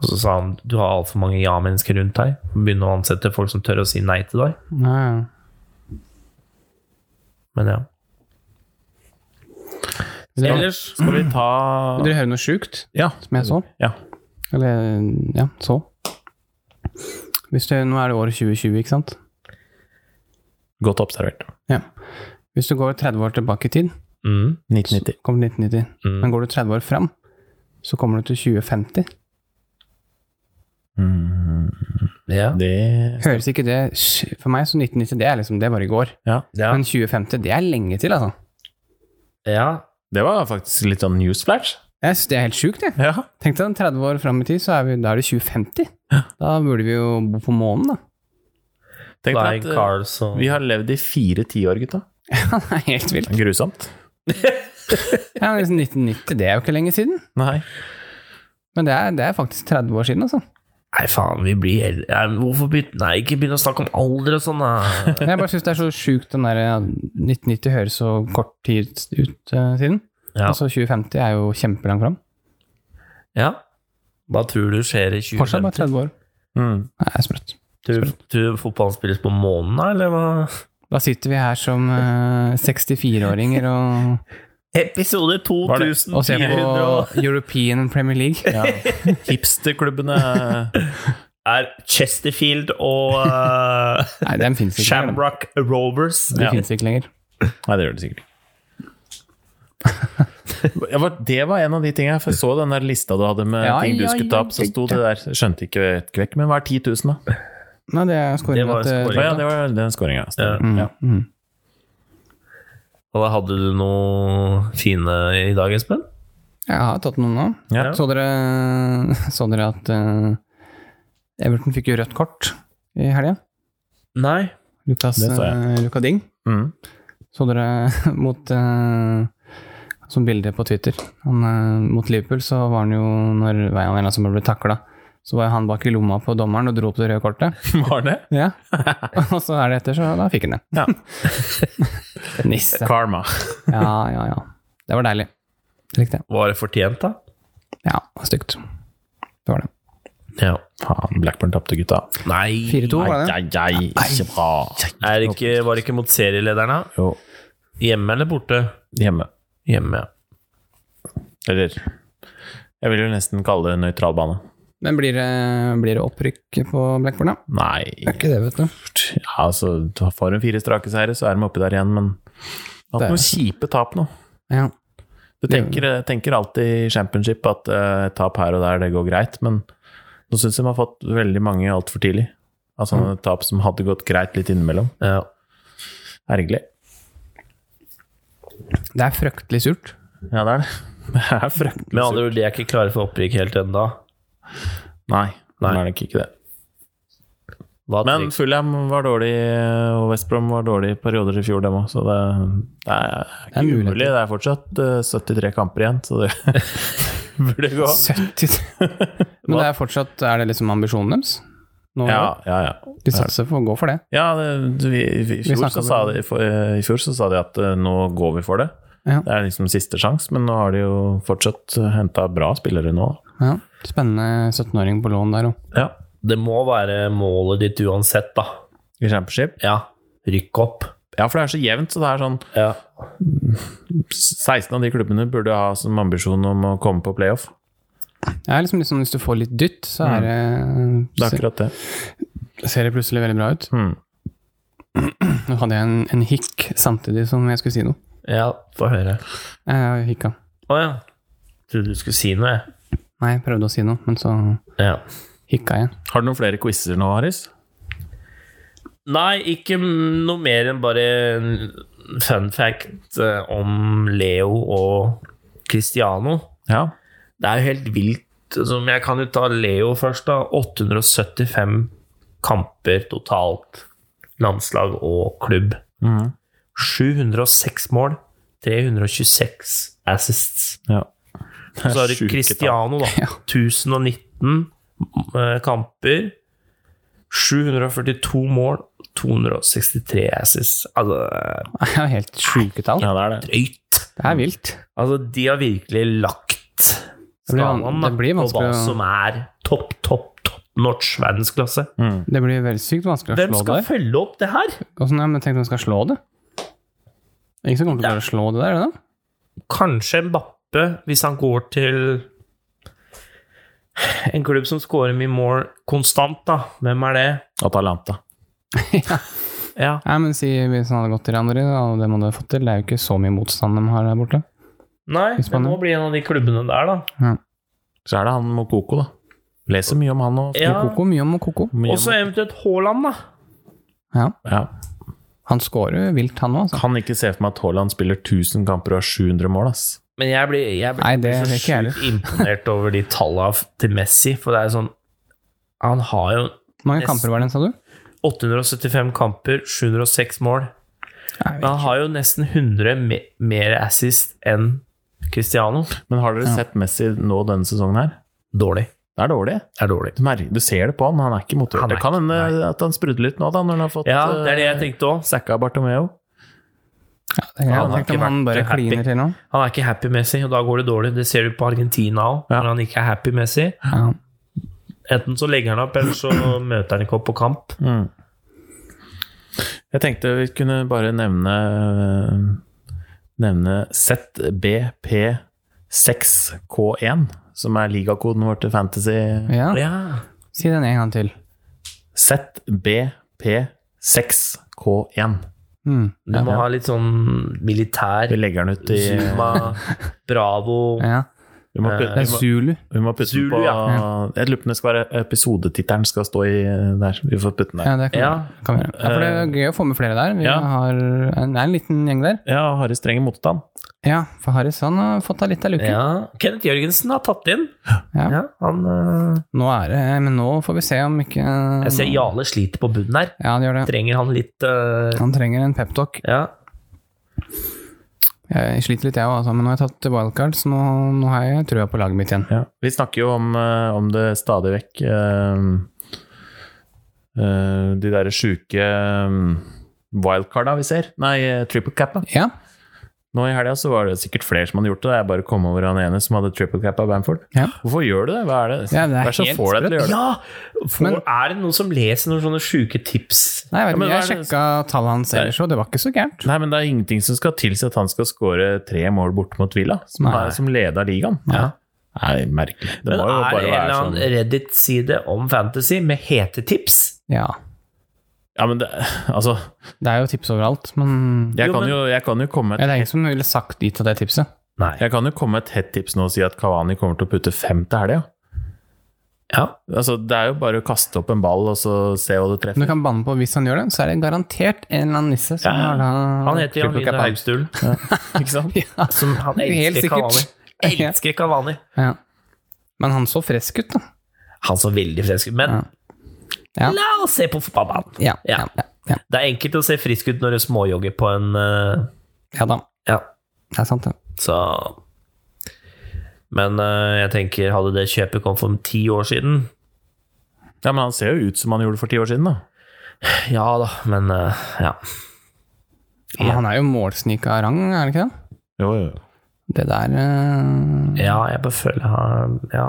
Og så sa han du har altfor mange ja-mennesker rundt deg. Begynne å ansette folk som tør å si nei til deg.
Ja, ja.
Men ja.
Vil dere-
Ellers
Skal vi ta
vil dere høre noe sjukt
Ja.
som jeg så?
ja.
Eller ja, så. Hvis du, nå er det året 2020, ikke sant?
Godt observert.
Ja. Hvis du går 30 år tilbake i tid,
1990.
kommer du til 1990.
Mm.
Men går du 30 år fram, så kommer du til 2050.
Ja.
Mm. Det
Høres ikke det For meg så 1990, det er liksom det var i går.
Ja.
Ja.
Men 2050, det er lenge til, altså.
ja.
Det var faktisk litt sånn newsflash.
Jeg synes det er helt sjukt, jeg.
Ja.
Tenk deg om 30 år fram i tid, så er vi, da er det 2050. Da burde vi jo bo på månen, da.
Tenk
Flying
deg at eh,
cars og
vi har levd i fire tiår, gutta.
det er helt vilt.
Grusomt.
Ja, men liksom 1990, det er jo ikke lenge siden.
Nei.
Men det er, det er faktisk 30 år siden, altså.
Nei, faen, vi blir eldre. Nei, men Hvorfor begynne Nei, ikke begynne å snakke om alder og sånn, da.
Jeg bare syns det er så sjukt den der ja, 1990 høres så kort tid ut eh, siden.
Ja.
Og så 2050 er jo kjempelangt fram.
ja. Hva tror du skjer i 2050?
Fortsatt bare 30 år.
Mm.
Nei, det er sprøtt.
Tror du- tror du fotballen spilles på månen, da, eller hva?
Da sitter vi her som eh, 64-åringer og,
Episode
Var det-
2400
og ser på European Premier League.
Ja. Hipsterklubbene eh,
er Chesterfield og eh,
Nei, den fins ikke lenger.
Shamrock Rovers.
De finnes ikke lenger.
Nei, det gjør det sikkert ikke. Jeg var- Det var en av de tingene. For jeg så den der lista du hadde med
Ja,
ting du
ja,
skulle
ja,
ta opp, så sto det der. Jeg Skjønte ikke et kvekk, men hva er 10 000, da?
Nei, det er eh,
Det
scoringa
var
Å,
til
scoringen.
ja, det var den scoringa.
Mm,
Ja.
Ja.
Og da hadde du noe fine i dag, Espen?
Jeg har tatt noen nå.
Ja.
Så, dere, så dere at eh, Everton fikk jo rødt kort i helga?
Nei.
Lucas,
Det så jeg.
eh, Luca Ding.
Mm.
Så dere mot eh, Som bilde på Twitter. Han, eh, mot Liverpool så var han jo, når veien var en som ble takla, så var jo han bak i lomma på dommeren og dro opp det røde kortet.
Var det?
Ja. Og så er det etter, så da fikk han det.
Ja.
Nisse.
Karma.
Ja, ja, ja. Det var deilig. Det likte jeg.
Var det fortjent, da?
Ja, det var stygt. Det var det.
Ja.
Faen, Blackburn tapte, gutta.
Nei
4-2, var det det?
Ai, ai, ai, ikke bra.
Er det ikke, Var det ikke mot serielederen, da?
Jo,
Hjemme eller borte?
hjemme.
Hjemme, ja.
Eller Jeg vil jo nesten kalle det nøytralbane.
Men blir det, blir det opprykk på Blackburn, da?
Nei
Er ikke det, vet du.
ja, altså, Får de fire strake seire, så er de oppe der igjen, men de har
Det
hatt
er
noen kjipe tap nå.
Ja.
Du tenker, eh, tenker alltid i championship at eh, tap her og der, det går greit, men nå syns jeg de har fått veldig mange altfor tidlig. Av sånne tap som hadde gått greit litt innimellom.
ja.
Ergerlig.
Det er fryktelig surt.
Ja, det er det. Det er fryktelig
Med andre ord, de er ikke klare for opprykk helt ennå.
Nei,
Nei.
det er nok ikke det.
Hva
Men
tenker-
Fulham var dårlig, eh, og West Brom var dårlig i perioder i fjor, dem òg. Så det, det er
er
ikke
muligheter.
umulig. Det er fortsatt eh, 73 kamper igjen, så det burde gå.
70 Men det er fortsatt Er det liksom ambisjonen deres? Nå,
Ja, ja, ja.
De satser på å gå for det?
ja det, vi, i,
Vi
fjor
snakket
så sa de, for, eh, I fjor så sa de at eh, nå går vi for det.
Ja.
Det er liksom siste sjanse, men nå har de jo fortsatt henta bra spillere nå.
ja. Spennende 17-åring på lån der òg.
Ja.
Det må være målet ditt uansett, da.
I championship.
Ja. Rykk opp.
Ja, for det er så jevnt, så det er sånn
Ja.
16 av de klubbene burde ha som ambisjon om å komme på playoff.
Det er liksom litt sånn hvis du får litt dytt, så er det,
Mm. Det er akkurat det.
se- ser det plutselig veldig bra ut.
Mm.
Nå hadde jeg en, en hikk samtidig som jeg skulle si noe.
ja, få høre.
Jeg hikka.
Å ja. Trodde du skulle si noe, jeg.
Nei, jeg prøvde å si noe, men så
Ja.
hikka jeg.
Har du noen flere quizer nå, Haris?
Nei, ikke noe mer enn bare en fun fact eh, om Leo og Cristiano.
Ja.
Det er jo helt vilt. Som jeg kan jo ta Leo først, da. 875 kamper totalt. Landslag og klubb. 706 mål. 326 assists.
ja.
Så har du
Sjuke
Cristiano, da.
Ja.
1019 eh, kamper. 742 mål. 263 assists. Altså,
Det er jo helt sjuke tall.
Ja, det er det.
drøyt.
Det er vilt.
Altså, de har virkelig lagt
Det blir van-
skalaen da,
det blir
på hva
vanskelig å-
som er topp, topp, topp norsk verdensklasse.
Hmm.
Det blir veldig sykt vanskelig å
Hvem
slå det
skal
der.
følge opp det her?
Åssen ja, men tenk om de skal slå det? Det er Ingen som kommer til å klare å slå det der, er det da?
Kanskje Mbappe, hvis han går til en klubb som scorer mye mål konstant, da. Hvem er det?
Atalanta.
Ja,
Nei, men si hvis han hadde gått til Randori, og det må de ha fått til. Det er jo ikke så mye motstand de har der borte.
Nei, det
Spennende.
må bli en av de klubbene der, da.
Så er det han Mokoko, da. Leser mye om han og
Ja.
Koko, mye om Koko.
Mye
Og så
om,
eventuelt Haaland, da.
Ja.
ja.
Han scorer jo vilt, han òg, altså.
Kan ikke se for meg at Haaland spiller 1000 kamper og har 700 mål, ass.
Men jeg blir, jeg blir
Nei, det er
så
ikke jeg
sjukt imponert over de tallene f- til Messi, for det er jo sånn Han har jo
Hvor mange kamper var det, sa du?
875 kamper, 706 mål. Men han har jo nesten 100 me mer assist enn Cristiano.
Men har dere sett Messi nå denne sesongen her?
Dårlig.
Det er dårlig.
Det er dårlig.
Du, mer du ser det på han, han er ikke
Han
motivert.
er
Det kan
ikke-
hende at han sprudler litt nå, da, når han har fått eh,
Ja, det er det jeg tenkte òg.
Sacka Bartomeo.
Ja,
Han har
Tenk om
ikke
han
vært
bare
happy.
kliner til nå.
Han er ikke happy med seg, og da går det dårlig. Det ser du på Argentina òg,
Ja.
når han ikke er happy med seg.
Ja.
Enten så legger han opp, eller så møter han ikke opp på kamp.
Mm. Jeg tenkte vi kunne bare nevne øh, Nevne ZBP6K1, som er ligakoden vår til Fantasy.
ja.
Ja,
Si den en gang til.
ZBP6K1.
Mm.
Du må ha litt sånn militær
Vi legger den ut i
Zuma, Bravo
Ja.
Vi
eh,
må, putte-
Det
vi
er
må,
Zulu.
vi må putte den
Zulu,
på
ja.
Jeg lurer på om det skal være episodetittelen skal stå i der. Vi får putte den
Ja,
der.
det kan,
Ja. Eh,
kan vi gjøre. Ja, for det er gøy å få med flere der. Vi
Ja.
har en, det er en liten gjeng der.
Ja, Harry Strenge motstand.
Ja, for Harris han har fått av litt av luken.
Ja. Kenneth Jørgensen har tatt inn.
Ja.
Ja, han, øh,
Nå er det, men nå får vi se om ikke
jeg ser Jale sliter på bunnen her.
Ja, han gjør det.
Trenger han litt øh,
Han trenger en peptalk.
Ja.
Jeg sliter litt, jeg òg, altså, men nå har jeg tatt wildcard, så nå, nå har jeg trua på laget mitt igjen.
Ja. Vi snakker jo om, eh, om det stadig vekk eh, eh, De derre sjuke eh, wildcarda vi ser. Nei, eh, triple cappa.
Ja,
Nå i helga så var det sikkert flere som hadde gjort det. Jeg bare kom over han ene som hadde triple cap av Bamford.
Ja.
Hvorfor gjør du det? Hva er det?
Ja, det er
Hva som
helt
får deg til å gjøre det?
Ja! For,
Men-
er det noen som leser noen sånne sjuke tips?
Nei, jeg vet
men
ikke,
hva
jeg
er det-
sjekka tallet hans ellers, og det var ikke så gærent.
Nei, men det er ingenting som skal tilsi at han skal skåre tre mål borte mot Villa, som,
Nei.
er, som leder ligaen.
Ja.
Nei, merkelig. Det
Men
må jo
er det
bare
en eller
være
annen
sånn
Reddit-side om fantasy med hete tips?
Ja.
Ja, men det, altså
Det er jo tips overalt, men
jeg,
Jo,
kan
men-
jo, jeg kan jo komme
Ja,
med
det er ingen som ville sagt dit av det tipset.
Nei.
jeg kan jo komme med et hett tips nå og si at Kavani kommer til å putte fem til helga.
Ja.
Altså, det er jo bare å kaste opp en ball og så se hva det
Men
treffer.
du kan banne på hvis han gjør det, så er det garantert en eller annen nisse som
Ja,
har da
Han heter Jan
triple cap
Vidar
av.
Haugstulen.
Ikke sant?
Ja.
Som han
Det er jo helt
elsker
sikkert.
Kavani. Elsker Kavani.
ja. Men han så frisk ut, da.
Han så veldig frisk ut. Men
Ja. Ja.
la oss se på fotballbanen.
Ja, ja,
Ja.
ja, ja.
Det er enkelt å se frisk ut når du småjogger på en eh,
ja da.
Ja.
Det er sant, det.
Så Men eh, jeg tenker, hadde det kjøpet kommet for ti år siden
Ja, men han ser jo ut som han gjorde for ti år siden, da.
Ja da, men eh, ja.
Ja, men han er jo målsnik av rang, er han ikke det?
Jo, jo, jo.
Det der eh,
Ja, jeg bare føler han Ja.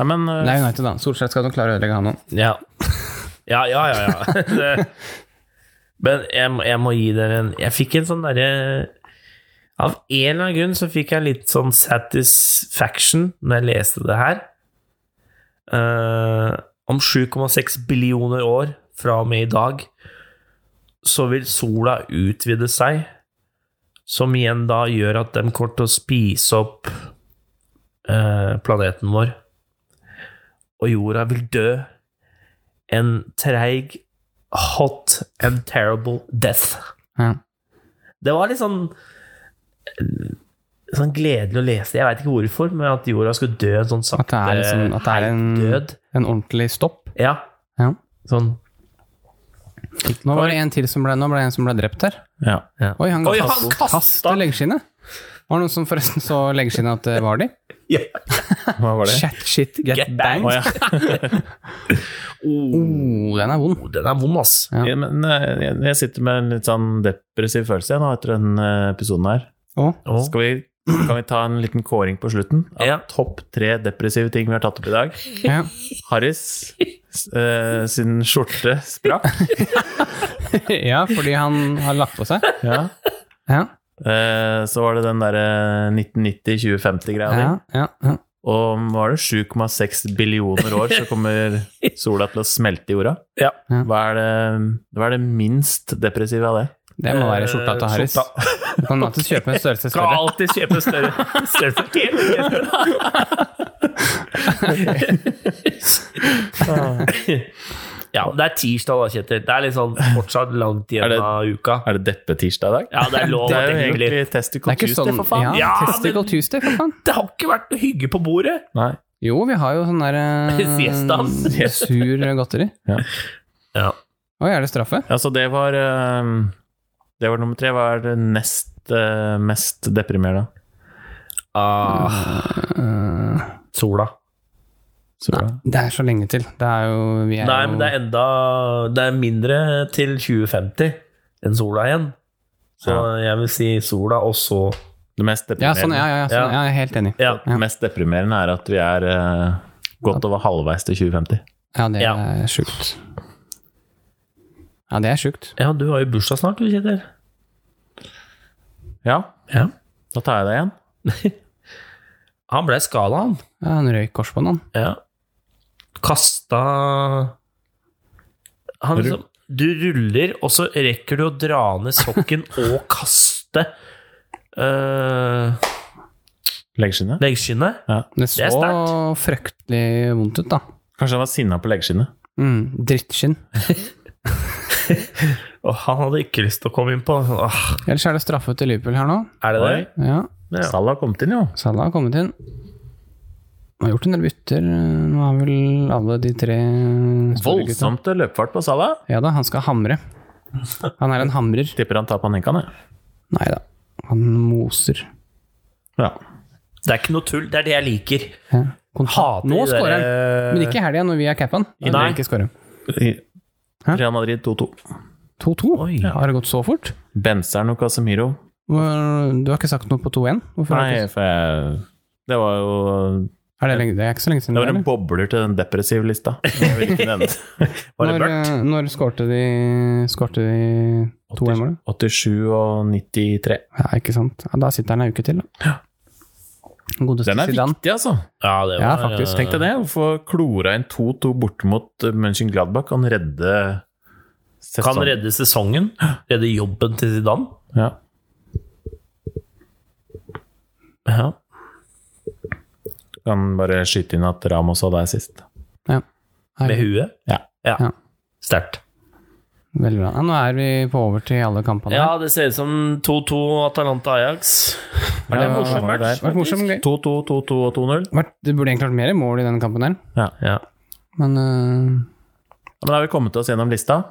Nei, men eh,
Det er United, da. Solskjær skal nok klare å ødelegge han òg.
Ja, ja, ja. ja, ja. Det, men jeg, må- jeg må gi dere en Jeg fikk en sånn derre Av en eller annen grunn så fikk jeg litt sånn satisfaction når jeg leste det her. Eh, om 7,6 billioner år fra og med i dag så vil sola utvide seg, som igjen da gjør at den kommer til å spise opp eh, planeten vår. Og jorda vil dø en treig, hot and terrible death.
Ja.
Det var litt sånn Sånn gledelig å lese. Jeg veit ikke hvorfor, men at jorda skulle dø en sånn
At det
sakte
er, liksom, at det er en,
død.
en ordentlig stopp.
Ja.
Ja.
Sånn
Nå var det en til som ble, nå ble det en som ble drept her.
ja.
Oi, han,
Oi, han
kastet-
kastet-
kastet leggskinnet! Var det noen som forresten så leggskinnet at det var de?
ja.
Hva var det?
Chat shit get,
Get
banged.
banged.
Å, ja.
Oh, den er vond.
Den er vond, ass.
Ja.
Ja, men eh, jeg, jeg sitter med en litt sånn depressiv følelse jeg nå etter denne episoden her.
Å,
Åh.
Skal vi, kan vi ta en liten kåring på slutten? Av
Ja.
Topp tre depressive ting vi har tatt opp i dag.
ja.
Harris eh, sin skjorte sprakk.
ja, fordi han har lagt på seg.
Ja.
Ja,
Eh, så var det den eh, derre 1990-2050-greia di.
ja, ja, ja.
Og om var det 7,6 billioner år så kommer sola til å smelte i jorda.
Ja.
Hva er det, hva er det minst depressive av det?
Det må være skjorta til
Eh,
Harris.
skjorta.
Du kan alltid kjøpe en størrelse
Skal
større.
alltid kjøpe større. større. ja, det er tirsdag da, Kjetil. Det er litt sånn fortsatt langt
Er
igjen
det-
av uka.
Er det deppetirsdag i dag?
Ja, det er lov
det
at
er
det
jo
er hyggelig.
egentlig
Det
Testicle
er ikke
Tuesday,
sånn
for faen.
Ja,
Ja,
Testicle Tuesday, for faen.
Det har ikke vært noe hygge på bordet.
Nei.
Jo, vi har jo sånn der eh,
Siestas.
sur godteri.
Ja.
Oi, er det straffe?
Ja, så det var eh, Det var nummer tre. Hva er det nest eh, mest deprimerende?
Ah,
Eh,
sola.
Sola?
det er så lenge til. Det er jo Vi er
Nei,
jo
men det er enda Det er mindre til 2050 enn sola igjen. Så jeg vil si sola, og så
Det mest
Ja,
deprimerende,
sånn, ja, ja, ja, sånn, ja, jeg er helt enig.
Ja.
Det mest deprimerende er at vi er eh, godt over halvveis til 2050.
Ja, det
Ja.
er sjukt. Ja, det er sjukt.
ja, du har jo bursdag snart, du, Kjetil.
Ja,
Ja.
da tar jeg det igjen.
Han ble skada, han.
Ja, han røyk korsbånd, han.
Ja. Kasta Han liksom Du ruller, og så rekker du å dra ned sokken og kaste eh,
Leggskinnet.
leggskinnet.
Det
Det er
så fryktelig vondt ut, da.
Kanskje han var sinna på leggskinnet.
Mm, drittskinn.
Og han hadde ikke lyst til å komme inn på. Åh,
Ellers er det straffe til Liverpool her nå.
er det det?
Oi,
Ja,
Ja.
Salah har kommet inn, jo.
Salah har kommet inn. Han har gjort en del bytter. Nå har vel alle de tre store gutta-
Voldsomt løpefart på Salah.
Ja da, han skal hamre. Han er en hamrer.
Tipper han tar panenkaen, jeg.
Nei da, han moser.
Ja.
Det er ikke noe tull. Det er det jeg liker.
Ja. Kont-
Hater
Nå
de der- eh,
scorer
eh,
han! Men ikke i helga, når vi er cap'n. Da vil
Nei.
vi ikke score.
I-
Hæ?
Real Madrid 2-2.
2-2?
Oi.
Har det gått så fort?
Benzeren og Casemiro
Hvor- Du har ikke sagt noe på 2-1? Hvorfor har du
Nei,
ikke-
for jeg Det var jo
Er det, lenge, det er ikke så lenge siden.
Det var
det,
en
eller?
bobler til den depressive lista. Jeg vil ikke nevne det. Var det
Når,
mørkt?
eh, når skårte de, skårte de 2-1-målet?
87 og 93.
Ja, ikke sant. Ja, da sitter han ei uke til, da. Godeste
Den er
Zidane.
viktig, altså.
Ja, det var, eh,
Ja, faktisk.
Tenk deg det. Å få klora inn 2-2 bort mot eh, München Gladbach kan redde
Kan
sesongen.
redde sesongen. Redde jobben til Zidane.
Ja.
Ja.
Kan bare skyte inn at Ramos hadde assist.
Nei,
Med huet.
Ja.
Ja.
Sterkt.
Veldig bra. Ja, nå er vi på overtid i alle kampene.
Ja, det ser ut som 2-2 Atalanta-Ajax.
Ja,
det en morsom
var
match?
der.
Det har vært morsomt, gøy.
2-2, 2-2 og 2-0.
Vært- Det burde egentlig vært mer mål i denne kampen her,
Ja.
men eh,
Ja, Men da har vi kommet oss gjennom lista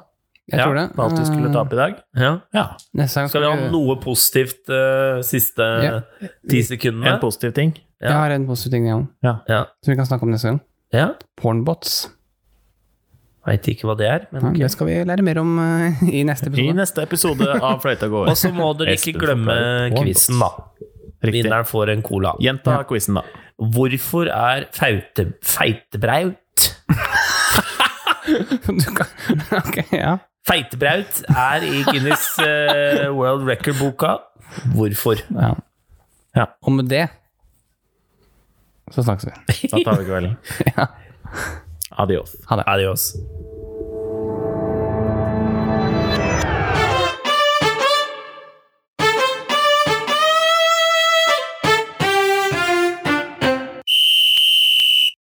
jeg
Ja,
tror det.
på alt vi skulle ta opp i dag.
ja.
Ja,
Eh, Neste gang
Skal vi ha noe positivt eh, siste
Ja.
ti
En
sekundene?
positiv ting.
Jeg har en positiv ting, jeg òg,
Ja.
som vi kan snakke om neste gang.
ja.
Pornbots.
Veit ikke hva det er, men
Ja, Det skal vi lære mer om eh, i neste
I
episode.
neste episode av Fløyta går.
Og så må dere ikke
Espen
glemme
forklarer.
quizen, da.
Riktig.
Vinneren får en cola.
Gjenta quizen, da.
Hvorfor er faute, feitebraut
Du kan, ok, ja.
Feitebraut er i Guinness eh, World Record-boka. Hvorfor?
ja.
Ja.
Og med det så snakkes vi.
Da tar vi kvelden.
Ja.
Adios.
Ha det.
Adios.